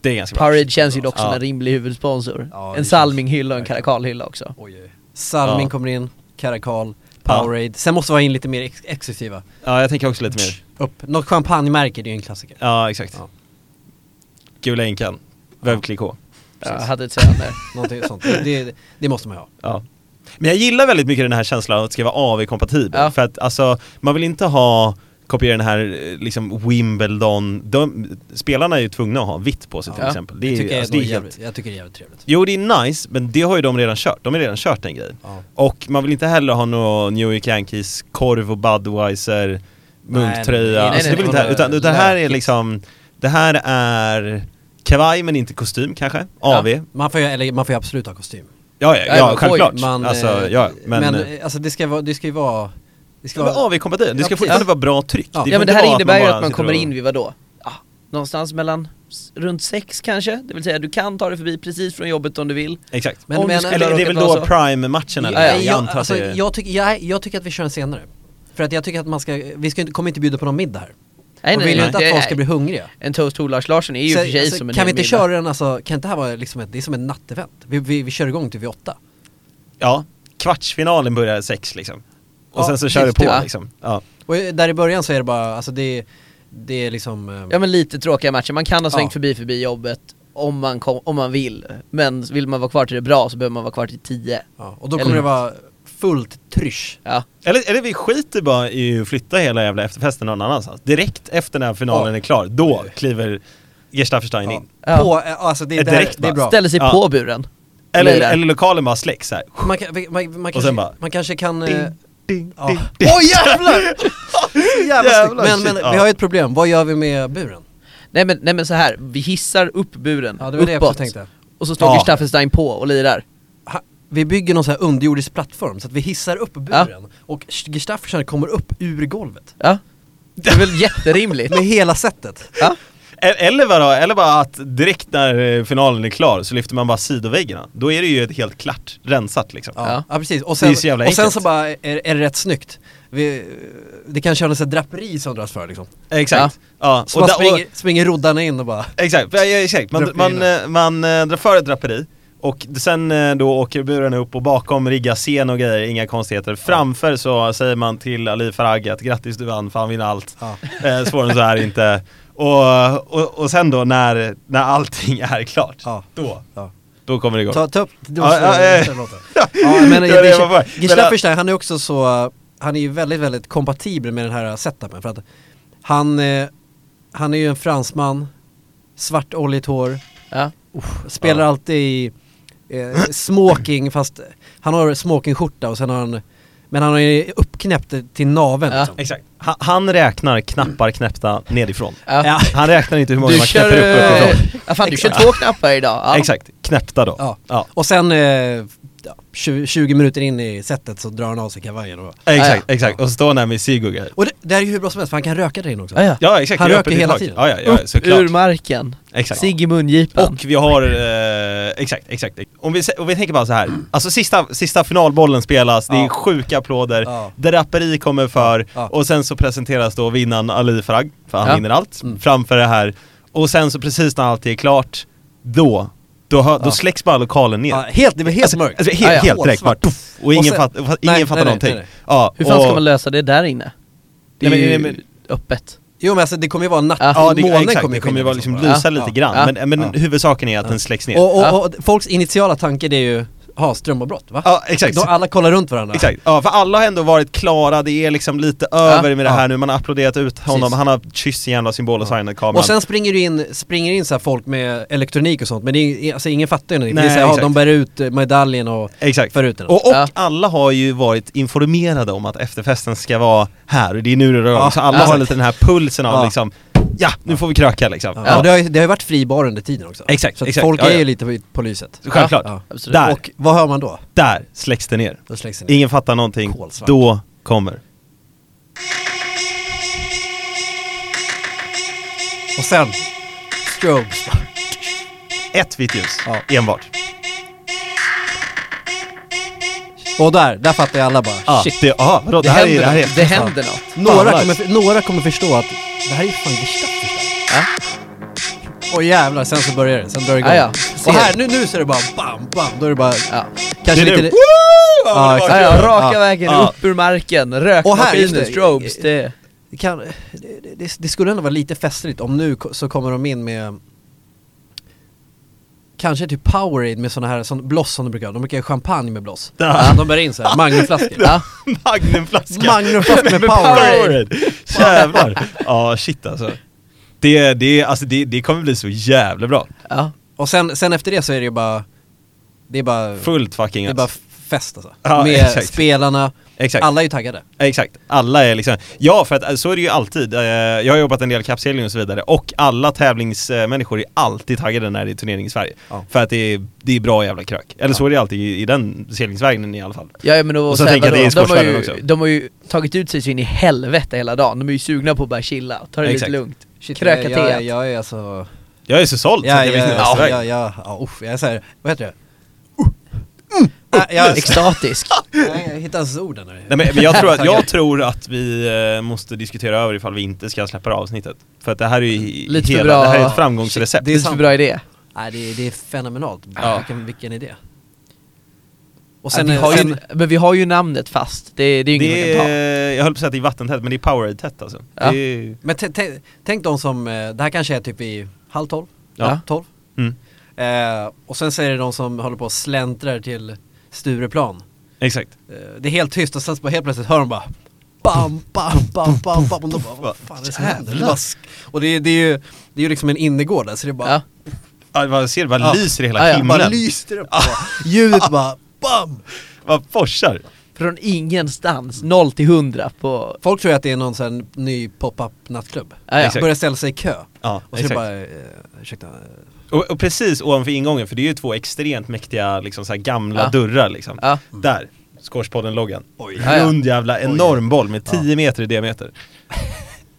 Speaker 3: Det är ganska bra.
Speaker 2: Parade känns ju dock som
Speaker 3: Ja.
Speaker 2: en rimlig huvudsponsor.
Speaker 1: Ja, det
Speaker 2: en
Speaker 1: känns-
Speaker 2: Salming-hylla och en Caracal-hylla också.
Speaker 1: Oj, oj. Salmin
Speaker 3: Ja.
Speaker 1: kommer in, Caracal, Powerade. Sen måste vi ha in lite mer ex- exklusiva.
Speaker 3: Ja, jag tänker också lite mer.
Speaker 1: Upp. Något champagnemärke, det är ju en klassiker.
Speaker 3: Ja, exakt.
Speaker 1: Ja.
Speaker 3: Gula änkan. Webklick H.
Speaker 2: Ja, jag hade ett sånt där.
Speaker 1: Någonting sånt. Det, det måste man ju ha.
Speaker 3: Ja. Men jag gillar väldigt mycket den här känslan att skriva av i kompatibel.
Speaker 2: Ja.
Speaker 3: För att alltså, man vill inte ha kopiera den här eh, liksom Wimbledon, de, spelarna är ju tvungna att ha vitt på sig till
Speaker 1: Ja.
Speaker 3: exempel. Det
Speaker 1: jag,
Speaker 3: är
Speaker 1: tycker
Speaker 3: ju,
Speaker 1: jag,
Speaker 3: alltså,
Speaker 1: är
Speaker 3: det är
Speaker 1: nog
Speaker 3: helt,
Speaker 1: jävligt, jag tycker det är jävligt trevligt.
Speaker 3: jo det är nice, men det har ju de redan kört, de har redan kört den grejen.
Speaker 1: Ja.
Speaker 3: Och man vill inte heller ha någon New York Yankees korv och Budweiser
Speaker 1: nej,
Speaker 3: munktröja,
Speaker 1: nej,
Speaker 3: alltså,
Speaker 2: nej,
Speaker 3: det vill
Speaker 2: det
Speaker 3: inte
Speaker 1: var
Speaker 3: här, utan det här är
Speaker 1: lökigt.
Speaker 3: liksom, det här är kavaj men inte kostym kanske, AV. Ja,
Speaker 1: Man får ju, eller man får ju absolut ha kostym.
Speaker 3: ja,
Speaker 2: Ja,
Speaker 3: ja,
Speaker 2: men
Speaker 3: självklart.
Speaker 2: oj,
Speaker 1: Man,
Speaker 3: alltså,
Speaker 1: eh,
Speaker 3: ja,
Speaker 1: men,
Speaker 3: men,
Speaker 1: eh, alltså det ska vara, det ska ju vara, det ska
Speaker 3: Ja, men
Speaker 1: vara,
Speaker 3: AV-kompatibel, det
Speaker 1: Ja,
Speaker 3: ska
Speaker 1: precis.
Speaker 3: fortfarande vara bra tryck.
Speaker 1: Ja.
Speaker 3: Det får
Speaker 2: Ja men
Speaker 3: inte
Speaker 2: det här
Speaker 3: vara att
Speaker 2: innebär ju
Speaker 3: bara
Speaker 2: att man
Speaker 3: sitter
Speaker 2: kommer
Speaker 3: och-
Speaker 2: in vid vadå? Ja, någonstans mellan s- runt sex kanske, det vill säga du kan ta dig förbi precis från jobbet om du vill.
Speaker 3: Exakt.
Speaker 1: Men-
Speaker 2: om
Speaker 1: men-
Speaker 2: du skulle
Speaker 3: Eller det är
Speaker 2: råka
Speaker 3: väl
Speaker 2: vara så.
Speaker 3: då prime-matchen eller?
Speaker 2: Ja, ja.
Speaker 3: jag
Speaker 1: jag,
Speaker 3: antar
Speaker 1: alltså,
Speaker 3: att det-
Speaker 1: jag, tycker, jag, jag tycker att vi kör den senare. För att jag tycker att man ska, vi ska, inte- kommer inte bjuda på någon middag här.
Speaker 2: Nej,
Speaker 1: och
Speaker 2: nej,
Speaker 1: vill ju
Speaker 2: nej,
Speaker 1: inte att
Speaker 2: nej.
Speaker 1: folk ska bli hungriga.
Speaker 2: En toast to Lars Larsson är ju
Speaker 1: Så-
Speaker 2: för sig
Speaker 1: alltså,
Speaker 2: som en
Speaker 1: kan
Speaker 2: hel
Speaker 1: vi inte
Speaker 2: middag.
Speaker 1: köra den alltså, kan inte det här vara liksom ett, det är som ett nattevent? Vi, vi, vi kör igång till vid åtta.
Speaker 3: Ja, kvartsfinalen börjar sex liksom. Och
Speaker 1: Ja,
Speaker 3: sen så kör det
Speaker 1: precis,
Speaker 3: på
Speaker 2: ja.
Speaker 3: liksom. Ja.
Speaker 1: Och eh, där i början så är det bara, alltså det, är- det är liksom eh,
Speaker 2: Ja men lite tråkiga matcher, man kan ha svängt
Speaker 1: Ja.
Speaker 2: förbi förbi jobbet om man, kom, om man vill. Men vill man vara kvar till det bra så behöver man vara kvar till tio.
Speaker 1: ja, och då
Speaker 2: eller
Speaker 1: kommer det
Speaker 2: något.
Speaker 1: vara fullt trysch.
Speaker 2: Ja.
Speaker 3: Eller, eller vi skiter bara i att flytta hela jävla efterfesten någon annanstans. Direkt efter när finalen
Speaker 1: Ja.
Speaker 3: är klar, då kliver Gestafferstein in.
Speaker 2: Ja.
Speaker 1: På, eh, alltså det är,
Speaker 3: Ett
Speaker 1: där,
Speaker 3: direkt
Speaker 1: det är
Speaker 3: bara.
Speaker 1: bra.
Speaker 2: Ställer sig
Speaker 3: Ja.
Speaker 2: på buren.
Speaker 3: Eller,
Speaker 2: Lilla.
Speaker 3: eller lokalen bara släcks här.
Speaker 2: Eh,
Speaker 1: Man, kan, man, man, man,
Speaker 3: sen
Speaker 1: kanske,
Speaker 3: bara-
Speaker 1: man kanske kan... eh,
Speaker 3: Ding, ding,
Speaker 1: ja.
Speaker 3: ding, ding.
Speaker 1: Oj jävlar! Så jävla
Speaker 3: Jävlar,
Speaker 1: snyggt. Men,
Speaker 3: shit,
Speaker 1: men
Speaker 3: ja.
Speaker 1: vi har ju ett problem, vad gör vi med buren?
Speaker 2: Nej men, nej men så här vi hissar upp buren,
Speaker 1: Ja det var det jag
Speaker 2: uppåt,
Speaker 1: också tänkte.
Speaker 2: och så står
Speaker 3: Ja.
Speaker 2: Gustafenstein på och lirar.
Speaker 1: Ha, vi bygger någon sån här underjordisk plattform så att vi hissar upp buren och Gestaffersen kommer upp ur golvet.
Speaker 2: Ja. Det är väl jätterimligt?
Speaker 1: Med hela sättet.
Speaker 2: Ja.
Speaker 3: E- Eller bara, eller bara att direkt när eh, finalen är klar så lyfter man bara sidoväggarna. Då är det ju ett helt klart, rensat liksom.
Speaker 1: Ja,
Speaker 2: Ja.
Speaker 1: ja. precis. Och sen,
Speaker 3: så jävla
Speaker 1: och sen
Speaker 3: enkelt.
Speaker 1: så bara är, är det rätt snyggt. Vi, det kanske är någon sån här draperi som dras för liksom.
Speaker 3: Exakt. Ja.
Speaker 1: Så
Speaker 3: och
Speaker 1: man
Speaker 3: där- och-
Speaker 1: springer, springer roddarna in och bara
Speaker 3: Exakt, ja, ja, exakt. Man, man,
Speaker 1: Draperierna.
Speaker 3: eh, man eh, drar för ett draperi och sen eh, då åker buren upp och bakom riggar scen och grejer, inga konstigheter. Framför så säger man till Ali Farag att grattis du vann, fan vinner allt.
Speaker 1: ja.
Speaker 3: Eh, svårare än så är det inte. Och, och, och sen då när, när allting är klart,
Speaker 1: Ja.
Speaker 3: då,
Speaker 1: Ja.
Speaker 3: då kommer det igång.
Speaker 1: Ta, ta upp, du
Speaker 3: Ja,
Speaker 1: måste
Speaker 3: ja, ja.
Speaker 1: ja, låten. Ja, men eh,
Speaker 3: Det var det jag var på
Speaker 1: det-
Speaker 3: väg. eh,
Speaker 1: Gistafferstein, han är också så, han är ju väldigt, väldigt kompatibel med den här setupen för att han, eh, han är ju en fransman, svart oljigt hår,
Speaker 2: Ja.
Speaker 1: spelar alltid i eh, smoking fast han har smokingskjorta och sen har han, men han har ju uppknäppt det till naveln
Speaker 2: Ja.
Speaker 1: liksom.
Speaker 3: Exakt. Han, han räknar knappar knäppta nedifrån.
Speaker 2: Ja.
Speaker 1: Ja.
Speaker 3: Han räknar inte hur många
Speaker 2: Du
Speaker 3: man
Speaker 2: kör,
Speaker 3: knäpper upp
Speaker 2: eh,
Speaker 3: uppifrån.
Speaker 2: ja, fan, du kör två knappar idag. Ja.
Speaker 3: Exakt, knäppta då.
Speaker 1: Ja.
Speaker 3: Ja.
Speaker 1: Och sen eh, ja, 20, 20 minuter in i setet så drar han av sig kavajen och,
Speaker 3: Exakt, exakt. Och står där med cigg och grejer.
Speaker 1: och det, det här är ju hur bra som helst för han kan röka där inne också.
Speaker 2: Ja, ja.
Speaker 3: Ja exakt,
Speaker 1: Han
Speaker 3: det är
Speaker 1: röker
Speaker 3: öppet i
Speaker 1: hela
Speaker 3: tak.
Speaker 1: tiden.
Speaker 3: Ja, ja, ja såklart.
Speaker 2: Ur marken,
Speaker 3: Exakt.
Speaker 2: cigg i mungipan.
Speaker 3: Och vi har, eh, exakt, exakt. Om vi, se- om vi tänker bara så här. alltså sista, sista finalbollen spelas, det är
Speaker 1: Mm. Ja.
Speaker 3: sjuka applåder,
Speaker 1: Ja.
Speaker 3: draperi kommer för,
Speaker 1: Ja.
Speaker 3: och sen så presenteras då vinnaren Ali Farag, för han
Speaker 2: Ja.
Speaker 3: vinner allt,
Speaker 1: Mm.
Speaker 3: framför det här. Och sen så precis när allt är klart, då, då, hö- då
Speaker 1: Ja.
Speaker 3: släcks bara lokalen ner.
Speaker 1: Ja, helt, det var helt
Speaker 3: Alltså,
Speaker 1: mörkt.
Speaker 3: alltså helt,
Speaker 2: Ja, ja.
Speaker 3: helt direkt bara,
Speaker 1: Kolsvart.
Speaker 3: tuff, och ingen,
Speaker 1: Och sen-
Speaker 3: fatt, fa- ingen
Speaker 1: nej,
Speaker 3: fattar
Speaker 1: nej,
Speaker 3: någonting.
Speaker 1: nej, nej.
Speaker 3: Ja,
Speaker 2: Hur fan
Speaker 3: och,
Speaker 2: ska man lösa det där inne? Det är
Speaker 3: Nej, men-
Speaker 2: ju
Speaker 3: nej,
Speaker 2: öppet.
Speaker 1: Jo men alltså det kommer ju vara natt,
Speaker 2: Ja.
Speaker 3: Ja, det,
Speaker 1: månen
Speaker 3: exakt,
Speaker 1: kommer
Speaker 3: det
Speaker 1: ju
Speaker 3: kommer ju
Speaker 1: skina
Speaker 3: vara liksom
Speaker 1: bara.
Speaker 3: lysa
Speaker 1: Ja,
Speaker 3: lite
Speaker 1: ja.
Speaker 3: grann,
Speaker 2: Ja.
Speaker 3: men, men
Speaker 1: Ja.
Speaker 3: huvudsaken är att den släcks ner.
Speaker 1: Och, och,
Speaker 2: Ja.
Speaker 1: och folks initiala tanke det är ju, ja ha strömavbrott va?
Speaker 3: Ja, exakt.
Speaker 1: Då alla kollar runt varandra.
Speaker 3: Exakt, ja för alla har ändå varit klara, det är liksom lite över med det
Speaker 1: ja.
Speaker 3: här nu, man har applåderat ut honom,
Speaker 1: Precis.
Speaker 3: han har kysst igen och symbol och
Speaker 1: Ja.
Speaker 3: signat kameran
Speaker 1: Och sen springer det in, springer in så här folk med elektronik och sånt, men det är, alltså ingen fattar ju någonting.
Speaker 3: Nej,
Speaker 1: det är så här, ja,
Speaker 3: exakt.
Speaker 1: de bär ut eh, medaljen och
Speaker 3: Exakt.
Speaker 1: för ut den.
Speaker 3: Och, och
Speaker 2: Ja.
Speaker 3: alla har ju varit informerade om att efterfesten ska vara här och det är nu det rör
Speaker 1: Ja,
Speaker 3: så alla
Speaker 2: exakt.
Speaker 3: har lite den här pulsen av
Speaker 1: Ja.
Speaker 3: liksom, ja nu får vi kröka liksom.
Speaker 1: ja.
Speaker 3: Ja.
Speaker 1: Och det, har ju, det har ju varit fri bar under tiden också.
Speaker 3: Exakt,
Speaker 1: så att
Speaker 3: exakt.
Speaker 1: folk
Speaker 3: Ja,
Speaker 1: är
Speaker 3: ja.
Speaker 1: ju lite på, på lyset.
Speaker 3: Självklart.
Speaker 1: Ja.
Speaker 2: Absolut.
Speaker 3: Där.
Speaker 1: Och vad hör man då?
Speaker 3: Där släcks det ner.
Speaker 1: Då släcks det ner.
Speaker 3: Ingen fattar någonting,
Speaker 1: Kolsvart.
Speaker 3: då kommer.
Speaker 1: Och sen, strobes.
Speaker 3: Ett vitt ljus,
Speaker 1: Ja.
Speaker 3: enbart.
Speaker 1: Och där, där fattar ju alla bara.
Speaker 3: Ja.
Speaker 2: Shit.
Speaker 3: Det, ja, vadå, det, här är,
Speaker 2: händer
Speaker 3: det här
Speaker 2: något.
Speaker 3: är
Speaker 2: det händer något.
Speaker 1: Några
Speaker 3: Fan,
Speaker 1: kommer, för- några kommer förstå att det här är ju fan Gestapo.
Speaker 2: Ja.
Speaker 1: Och jävlar, sen så börjar det, sen drar det igång.
Speaker 2: Ja, ja.
Speaker 1: Och här, nu, nu så är det bara bam, bam, då är det bara
Speaker 2: Ja.
Speaker 1: kanske
Speaker 3: Det är
Speaker 1: lite...
Speaker 3: nu. Woo!
Speaker 1: Ja,
Speaker 3: Ja, det var
Speaker 2: Ja,
Speaker 1: exakt.
Speaker 3: kul.
Speaker 2: ja, raka
Speaker 1: Ja.
Speaker 2: vägen
Speaker 3: Ja.
Speaker 2: upp ur marken,
Speaker 1: just
Speaker 2: rökmaskiner,
Speaker 1: det.
Speaker 2: strobes, det...
Speaker 1: Det, kan, det, det- det, det skulle ändå vara lite festligt om nu ko- så kommer de in med Kanske typ Powerade med såna här sån bloss som de brukar ha, de brukar ha champagne med bloss
Speaker 3: Ja.
Speaker 1: De bär in såhär, magnumflaskor
Speaker 2: Ja.
Speaker 3: Magnumflaska.
Speaker 1: Magnumflaska med Powerade
Speaker 3: Powerade! Jävlar! Ja, shit alltså. Det, det, alltså det, det kommer bli så jävla bra.
Speaker 2: Ja.
Speaker 1: Och sen, sen efter det så är det ju bara Det är bara,
Speaker 3: Fullt
Speaker 1: det
Speaker 3: fucking
Speaker 1: är
Speaker 3: ös.
Speaker 1: bara fest alltså
Speaker 3: Ja,
Speaker 1: Med
Speaker 3: exakt.
Speaker 1: spelarna,
Speaker 3: Exakt.
Speaker 1: alla är ju taggade
Speaker 3: Exakt, alla är liksom, ja för att eh, så är det ju alltid. Eh, Jag har jobbat en del kappsegling och så vidare och alla tävlingsmänniskor är alltid taggade när det är turnering i Sverige.
Speaker 1: Ja.
Speaker 3: För att det är, det är bra jävla krök. Eller så är det alltid i, i den seglingsvärlden i alla fall.
Speaker 2: Ja, ja, men då,
Speaker 3: Och sen
Speaker 2: så här,
Speaker 3: tänker jag
Speaker 2: vadå?
Speaker 3: att det
Speaker 2: de,
Speaker 3: är
Speaker 2: har ju,
Speaker 3: sportsvärlden också.
Speaker 2: de har ju tagit ut sig så in i helvete hela dagen, de är ju sugna på att bara chilla, ta det lite
Speaker 3: Exakt.
Speaker 2: lugnt,
Speaker 1: Shit,
Speaker 2: kröka
Speaker 1: jag,
Speaker 2: teet.
Speaker 1: jag, jag är alltså
Speaker 3: Jag är så såld så
Speaker 1: Ja, alltså,
Speaker 3: att jag vet inte vad jag
Speaker 1: ja,
Speaker 3: ska
Speaker 1: ja,
Speaker 3: vägen.
Speaker 1: ja, ja, usch, jag är såhär, vad heter det? Uh, mm, jag,
Speaker 2: Extatisk.
Speaker 1: Nej, jag hittar inte ens orden här.
Speaker 3: Nej, men men jag, tror att, jag tror att vi eh, måste diskutera över ifall vi inte ska släppa det här avsnittet. För att det här är ju
Speaker 2: Lite för
Speaker 3: hela,
Speaker 2: bra-
Speaker 3: det här är ett framgångsrecept.
Speaker 1: Det är
Speaker 2: Det är en
Speaker 1: sant.
Speaker 2: bra idé.
Speaker 1: Nej, det, är- det är fenomenalt.
Speaker 3: Ja.
Speaker 1: Vilken, vilken idé. Och
Speaker 2: ja,
Speaker 1: sen,
Speaker 2: vi har
Speaker 1: sen
Speaker 2: ju, men vi har ju namnet fast, det, det är ju inget man kan
Speaker 3: Det
Speaker 2: ta.
Speaker 3: är, jag höll på att säga att det är vattentätt, men det är powerade-tätt alltså.
Speaker 2: Ja.
Speaker 3: Det är,
Speaker 1: men t- t- tänk de som, eh, det här kanske är typ i halv tolv,
Speaker 2: Ja.
Speaker 1: tolv.
Speaker 3: mm,
Speaker 1: Eh, och sen så är det de som håller på och släntrar till Stureplan.
Speaker 3: exakt.
Speaker 1: Eh, det är helt tyst och sen så bara helt plötsligt hör de bara Bam, bam, bam, bam, bam och de bara vad fan är det som händer? Det är bara sk- Och det är, det är ju, det är ju liksom en innergård där så det är bara
Speaker 2: Ja.
Speaker 3: Ja, man ser det bara
Speaker 1: Ja.
Speaker 3: lyser i hela
Speaker 2: Ja, ja,
Speaker 3: himlen.
Speaker 1: Bara lyste det på, ljudet bara BAM!
Speaker 3: Vad forsar.
Speaker 2: Från ingenstans, noll till hundra på...
Speaker 1: Folk tror ju att det är någon sån här ny pop-up nattklubb
Speaker 2: Ja, ja.
Speaker 3: Exakt.
Speaker 1: Börjar ställa sig i kö
Speaker 3: Ja,
Speaker 1: Och så är det
Speaker 3: exakt.
Speaker 1: bara, eh, ursäkta eh,
Speaker 3: Och, och precis ovanför ingången, för det är ju två extremt mäktiga liksom, så här gamla
Speaker 2: Ja.
Speaker 3: dörrar liksom.
Speaker 2: Ja.
Speaker 3: Där, Scorspodden-loggan.
Speaker 1: Oj
Speaker 2: Ja, ja.
Speaker 3: Rund jävla enorm boll med 10 meter i diameter.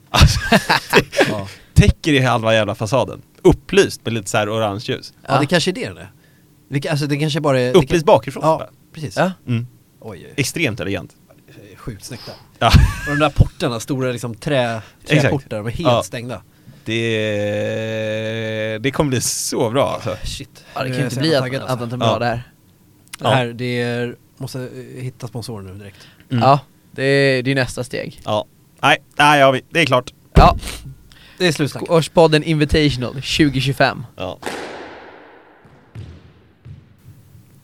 Speaker 3: Alltså, det
Speaker 1: Ja.
Speaker 3: täcker i halva jävla fasaden. Upplyst med lite så här orange ljus.
Speaker 1: Ja det kanske är det det är. det kan- Alltså det kanske bara är det
Speaker 3: Upplyst
Speaker 1: kan-
Speaker 3: bakifrån.
Speaker 1: Ja, precis
Speaker 2: Ja.
Speaker 3: Mm.
Speaker 1: Oj, oj,
Speaker 3: Extremt elegant.
Speaker 1: oj, sjukt snyggt där
Speaker 3: Ja.
Speaker 1: Och de där portarna, stora liksom trä,
Speaker 3: Exakt.
Speaker 1: träportar, de är helt
Speaker 3: Ja.
Speaker 1: stängda
Speaker 3: Det, det kommer bli så bra alltså.
Speaker 1: Shit
Speaker 2: Ja, det
Speaker 1: Nu är
Speaker 2: kan ju
Speaker 1: jag
Speaker 2: inte
Speaker 1: så
Speaker 2: bli
Speaker 1: jävla
Speaker 2: annat
Speaker 1: taggad, alltså.
Speaker 2: annat än bra
Speaker 3: Ja.
Speaker 2: det här.
Speaker 1: Det här, det är, måste eh, hitta sponsorer nu direkt
Speaker 3: Mm.
Speaker 2: Ja, det är, det är nästa steg.
Speaker 3: Ja. Nej, där har vi. Det är klart.
Speaker 2: Ja,
Speaker 1: Det är slutsnack
Speaker 2: Årspodden Invitational 2025.
Speaker 3: Ja.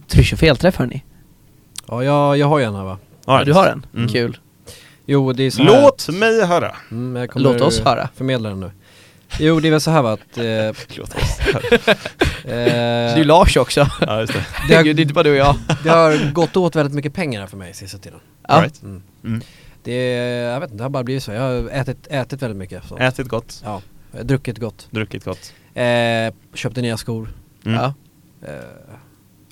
Speaker 2: Trysch och felträff hörni.
Speaker 1: Ja jag, jag har ju en här va
Speaker 2: Ja, du har den?
Speaker 3: Mm.
Speaker 1: Eh,
Speaker 2: Kul.
Speaker 1: Jo det är så här-
Speaker 3: Låt mig höra.
Speaker 1: Mm, jag
Speaker 2: Låt oss höra.
Speaker 1: förmedla den nu. Jo, det är väl så här va, att... Eh, eh,
Speaker 3: Låt oss höra.
Speaker 2: Det är ju Lars också.
Speaker 3: Ja, just det.
Speaker 1: det, har,
Speaker 2: Gud, det är inte bara du och jag.
Speaker 1: det har gått åt väldigt mycket pengar här för mig sista tiden.
Speaker 2: Ja.
Speaker 3: Right.
Speaker 1: Mm.
Speaker 3: Mm.
Speaker 1: Det, är- jag vet inte, det har bara blivit så. Jag har ätit, ätit väldigt mycket. Så.
Speaker 3: Ätit gott,
Speaker 1: Ja, jag har druckit gott.
Speaker 3: druckit gott.
Speaker 1: Eh, köpte nya skor.
Speaker 3: Mm.
Speaker 2: Ja.
Speaker 1: Eh,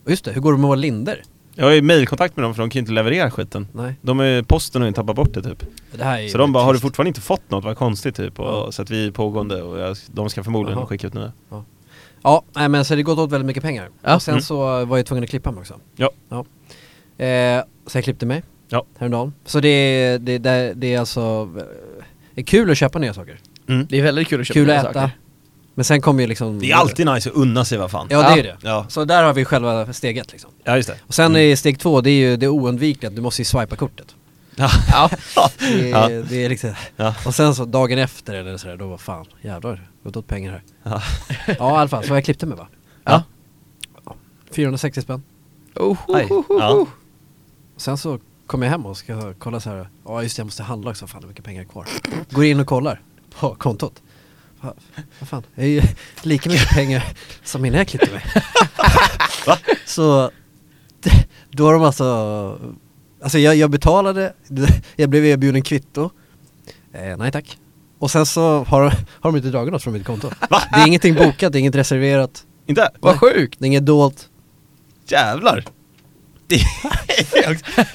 Speaker 1: och just det, hur går det med våra linder?
Speaker 3: Jag har ju mejlkontakt med dem för de kan ju inte leverera skiten.
Speaker 1: Nej,
Speaker 3: De är posten har ju tappat bort det typ.
Speaker 1: det här är
Speaker 3: Så de bara, har du
Speaker 1: trist.
Speaker 3: fortfarande inte fått något? Vad konstigt typ.
Speaker 1: Ja.
Speaker 3: Och, så att vi är pågående och jag, de ska förmodligen
Speaker 1: Jaha.
Speaker 3: skicka ut nya.
Speaker 1: Ja, nej men så det gått åt väldigt mycket pengar.
Speaker 2: Ja.
Speaker 1: Och sen
Speaker 3: Mm.
Speaker 1: så var jag tvungen att klippa mig också.
Speaker 3: Ja.
Speaker 1: Eh, så jag klippte mig.
Speaker 3: Ja.
Speaker 1: Häromdagen. Så det är, det, det, det är alltså, eh, det är kul att köpa nya saker.
Speaker 3: Mm.
Speaker 2: Det är väldigt kul att köpa
Speaker 1: kul
Speaker 2: nya
Speaker 1: att äta.
Speaker 2: saker.
Speaker 1: Men sen kommer ju liksom...
Speaker 3: Det är alltid nice att unna sig vad fan.
Speaker 1: Ja det är det.
Speaker 3: Ja,
Speaker 1: Så där har vi själva steget liksom.
Speaker 3: ja just det.
Speaker 1: Och sen
Speaker 3: Mm.
Speaker 1: är steg två, det är ju det oundvikliga att du måste ju swipa kortet.
Speaker 3: Ja.
Speaker 2: Ja.
Speaker 1: Det,
Speaker 3: Ja.
Speaker 1: är det är liksom,
Speaker 3: Ja.
Speaker 1: och sen så dagen efter eller sådär, då var fan, jävlar, gått åt pengar här.
Speaker 3: Ja.
Speaker 1: Ja i alla fall, så jag klippte mig va?
Speaker 2: Ja.
Speaker 1: 460 spänn.
Speaker 2: Oh,
Speaker 3: Aj.
Speaker 2: ho, ho,
Speaker 3: Ja.
Speaker 2: ho.
Speaker 1: Sen så kommer jag hem och ska kolla så här. Ja just det, jag måste handla också. Fan, hur mycket pengar är kvar? Går in och kollar på kontot. Va- Vad fan, det är ju lika mycket pengar som innan jag klippte mig.
Speaker 3: Va?
Speaker 1: Så d- då har de alltså, alltså jag, jag betalade, jag blev erbjuden kvitto. Eh, nej tack. Och sen så har, har de inte dragit något från mitt konto. Det är ingenting bokat, det är inget reserverat,
Speaker 3: Inte?
Speaker 2: Vad sjukt!
Speaker 1: det är inget dolt.
Speaker 3: Jävlar! Det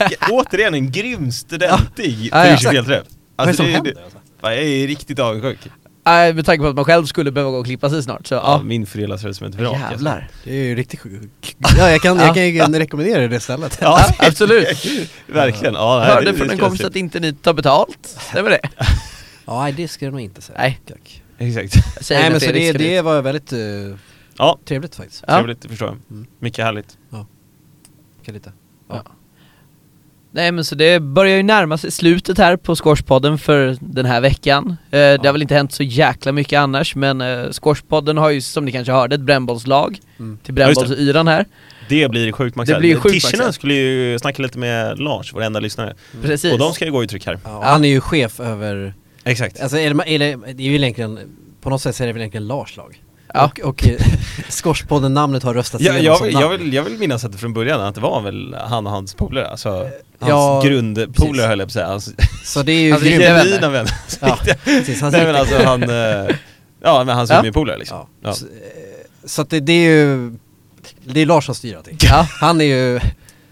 Speaker 3: är återigen en grym studentig
Speaker 2: Ja, ja.
Speaker 3: 2021-träff.
Speaker 1: Vad är det
Speaker 3: Alltså,
Speaker 1: som
Speaker 3: det, är-
Speaker 1: händer?
Speaker 3: det, fan, jag är riktigt avundsjuk.
Speaker 2: Nej, med tanke på att man själv skulle behöva gå och klippa sig snart så
Speaker 3: Ja.
Speaker 2: ja.
Speaker 3: Min frilla ser ut som ett vrak. alltså.
Speaker 2: Jävlar.
Speaker 1: Det är ju riktigt sjukt. Ja, jag kan, jag kan ju rekommendera det stället.
Speaker 3: Ja,
Speaker 2: Ja, absolut.
Speaker 3: Verkligen. Ja, nej,
Speaker 2: Hörde
Speaker 3: det-
Speaker 2: från
Speaker 3: det
Speaker 2: en
Speaker 3: ska jag
Speaker 2: kompis
Speaker 3: se.
Speaker 2: att inte ni tar betalt. Stämmer det?
Speaker 1: Ja, nej, det ska jag nog inte säga.
Speaker 2: Nej.
Speaker 1: Tack.
Speaker 3: Exakt.
Speaker 2: Jag säger
Speaker 1: Nej, men
Speaker 2: att
Speaker 1: så det,
Speaker 2: Erik ska dit.
Speaker 1: det var väldigt eh,
Speaker 3: Ja,
Speaker 1: trevligt faktiskt.
Speaker 2: Ja.
Speaker 3: trevligt, det förstår jag.
Speaker 1: Mm.
Speaker 3: Mycket härligt.
Speaker 1: Kan lite.
Speaker 2: Ja. Nej men så det börjar ju närma sig slutet här på Squashpodden för den här veckan. Eh, Det har väl inte hänt så jäkla mycket annars men eh, Squashpodden har ju som ni kanske hörde ett brännbollslag
Speaker 1: Mm.
Speaker 2: till
Speaker 3: Ja, just det.
Speaker 2: brännbollsyran här.
Speaker 3: Det blir sjukt Max
Speaker 2: Det
Speaker 3: Hell.
Speaker 2: blir sjukt, Max
Speaker 3: Tischerna
Speaker 2: Hell.
Speaker 3: skulle ju snacka lite med Lars, vår enda lyssnare.
Speaker 2: Precis.
Speaker 3: Mm. Och de ska ju gå i tryck här.
Speaker 1: Ja, och Han är ju chef över,
Speaker 3: Exakt.
Speaker 1: alltså är det, är det, det är ju egentligen, på något sätt så är det väl egentligen Lars lag.
Speaker 2: Ja.
Speaker 1: Och, och eh, Skorspodden-namnet har röstats
Speaker 3: Ja,
Speaker 1: igenom
Speaker 3: jag,
Speaker 1: som
Speaker 3: vill,
Speaker 1: namn.
Speaker 3: jag, vill, jag vill minnas att det från början att det var väl han och hans polare, alltså
Speaker 2: Eh,
Speaker 3: hans
Speaker 1: ja, precis.
Speaker 3: grundpolare höll jag på att säga. Hans
Speaker 1: Så det är ju
Speaker 2: Alltså, det är
Speaker 1: grymt.
Speaker 2: jävla-
Speaker 3: genuina vänner.
Speaker 1: Ja, precis. Han
Speaker 3: Nej men
Speaker 1: sitter-
Speaker 3: alltså han, eh, ja men hans
Speaker 2: Ja.
Speaker 3: juniorpolare liksom.
Speaker 1: ja.
Speaker 3: Ja.
Speaker 1: Så, eh, så att det, det är ju, det är Lars som styr allting.
Speaker 2: Ja.
Speaker 1: Han är ju,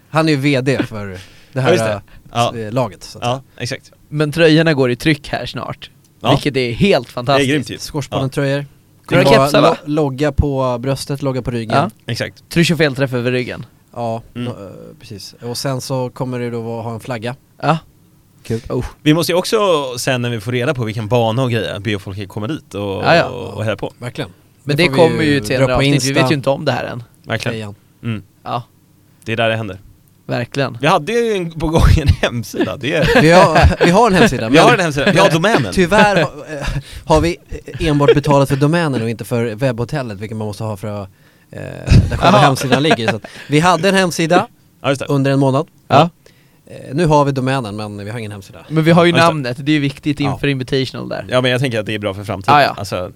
Speaker 1: han är ju VD för det
Speaker 3: Ja,
Speaker 1: här
Speaker 3: just det. Ja.
Speaker 1: eh, laget. Så att
Speaker 3: Ja, exakt.
Speaker 2: Men tröjorna går i tryck här snart.
Speaker 3: Ja.
Speaker 2: Vilket är helt
Speaker 3: Det är
Speaker 2: fantastiskt.
Speaker 3: grymt ju.
Speaker 1: Skorspodden tröjor
Speaker 2: Några
Speaker 1: Det är bara
Speaker 2: kepsar, va?
Speaker 1: lo- Logga på bröstet, logga på ryggen
Speaker 2: Ja.
Speaker 1: Ja,
Speaker 3: Exakt.
Speaker 2: Tryck och felträff över ryggen.
Speaker 3: Mm.
Speaker 1: no- eh, precis. Och sen så kommer det då vara- ha en flagga
Speaker 2: Ja.
Speaker 1: Kul
Speaker 2: Oh.
Speaker 3: Vi måste ju också sen när vi får reda på vilken bana och grejer, be folk att komma dit och,
Speaker 2: Ja, ja.
Speaker 3: och heja på.
Speaker 1: Verkligen
Speaker 2: Men
Speaker 1: Det
Speaker 2: det,
Speaker 1: får vi
Speaker 2: kommer
Speaker 1: ju
Speaker 2: ju till
Speaker 1: dra på
Speaker 2: en avsnitt, vi
Speaker 1: Insta.
Speaker 2: vet ju inte om det här än.
Speaker 3: Verkligen.
Speaker 1: Tröjan.
Speaker 3: Mm.
Speaker 2: Ja,
Speaker 3: Det är där det händer.
Speaker 2: verkligen.
Speaker 3: Vi hade ju en, på gång en hemsida, det är,
Speaker 1: vi, har, vi har en hemsida
Speaker 3: vi har en
Speaker 1: men
Speaker 3: hemsida, vi har domänen.
Speaker 1: Tyvärr ha- eh, har vi enbart betalat för domänen och inte för webbhotellet vilket man måste ha för att eh, där själva
Speaker 2: Aha.
Speaker 1: hemsidan ligger så att Vi hade en hemsida
Speaker 3: Ja just det.
Speaker 1: under en månad
Speaker 2: Ja.
Speaker 1: Eh, Nu har vi domänen men vi har ingen hemsida
Speaker 2: Men vi har ju
Speaker 3: Ja, just det.
Speaker 2: namnet, det är ju viktigt
Speaker 1: Ja.
Speaker 2: inför Invitational där.
Speaker 3: Ja men jag tänker att det är bra för framtiden.
Speaker 2: Ja, ja.
Speaker 3: Alltså,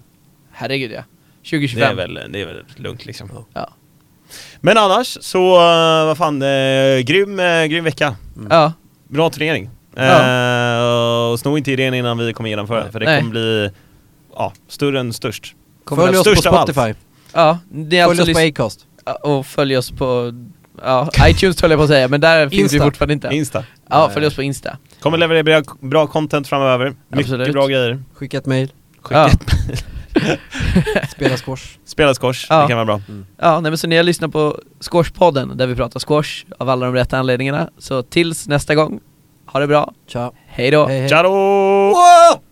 Speaker 2: Herregud ja.
Speaker 3: det, är
Speaker 2: 2025.
Speaker 3: väl, det är väl lugnt liksom.
Speaker 1: Ja.
Speaker 2: Ja.
Speaker 3: Men annars så, eh, vad fan, eh, grym, eh, grym vecka.
Speaker 1: Mm.
Speaker 2: Ja.
Speaker 3: Bra turnering. Eh, och sno inte idén innan vi kommer genomföra den, för det
Speaker 2: Nej.
Speaker 3: kommer bli ja, större än störst.
Speaker 1: Följ
Speaker 3: den
Speaker 1: oss på
Speaker 3: största av allt.
Speaker 1: Spotify,
Speaker 2: Ja, det är
Speaker 1: följ
Speaker 2: alltså
Speaker 1: oss på
Speaker 2: lys-
Speaker 1: Acast
Speaker 2: och följ oss på ja, iTunes höll jag på att säga, men där finns vi
Speaker 1: Insta.
Speaker 2: fortfarande inte.
Speaker 3: Insta.
Speaker 2: Ja, följ oss på Insta.
Speaker 3: Kommer leverera bra, bra content framöver. Mycket
Speaker 2: Absolut.
Speaker 3: bra grejer.
Speaker 1: Skicka ett mail,
Speaker 3: Skicka
Speaker 2: Ja.
Speaker 1: spela squash Mm.
Speaker 3: Spela squash,
Speaker 2: Ja.
Speaker 3: det kan vara bra.
Speaker 2: Ja, nej men så ni har lyssnat på Squashpodden där vi pratar squash av alla de rätta anledningarna. Så tills nästa gång, ha det bra,
Speaker 1: Ciao.
Speaker 2: hej då!
Speaker 1: Hej, hej.
Speaker 3: Tja då!
Speaker 1: Whoa!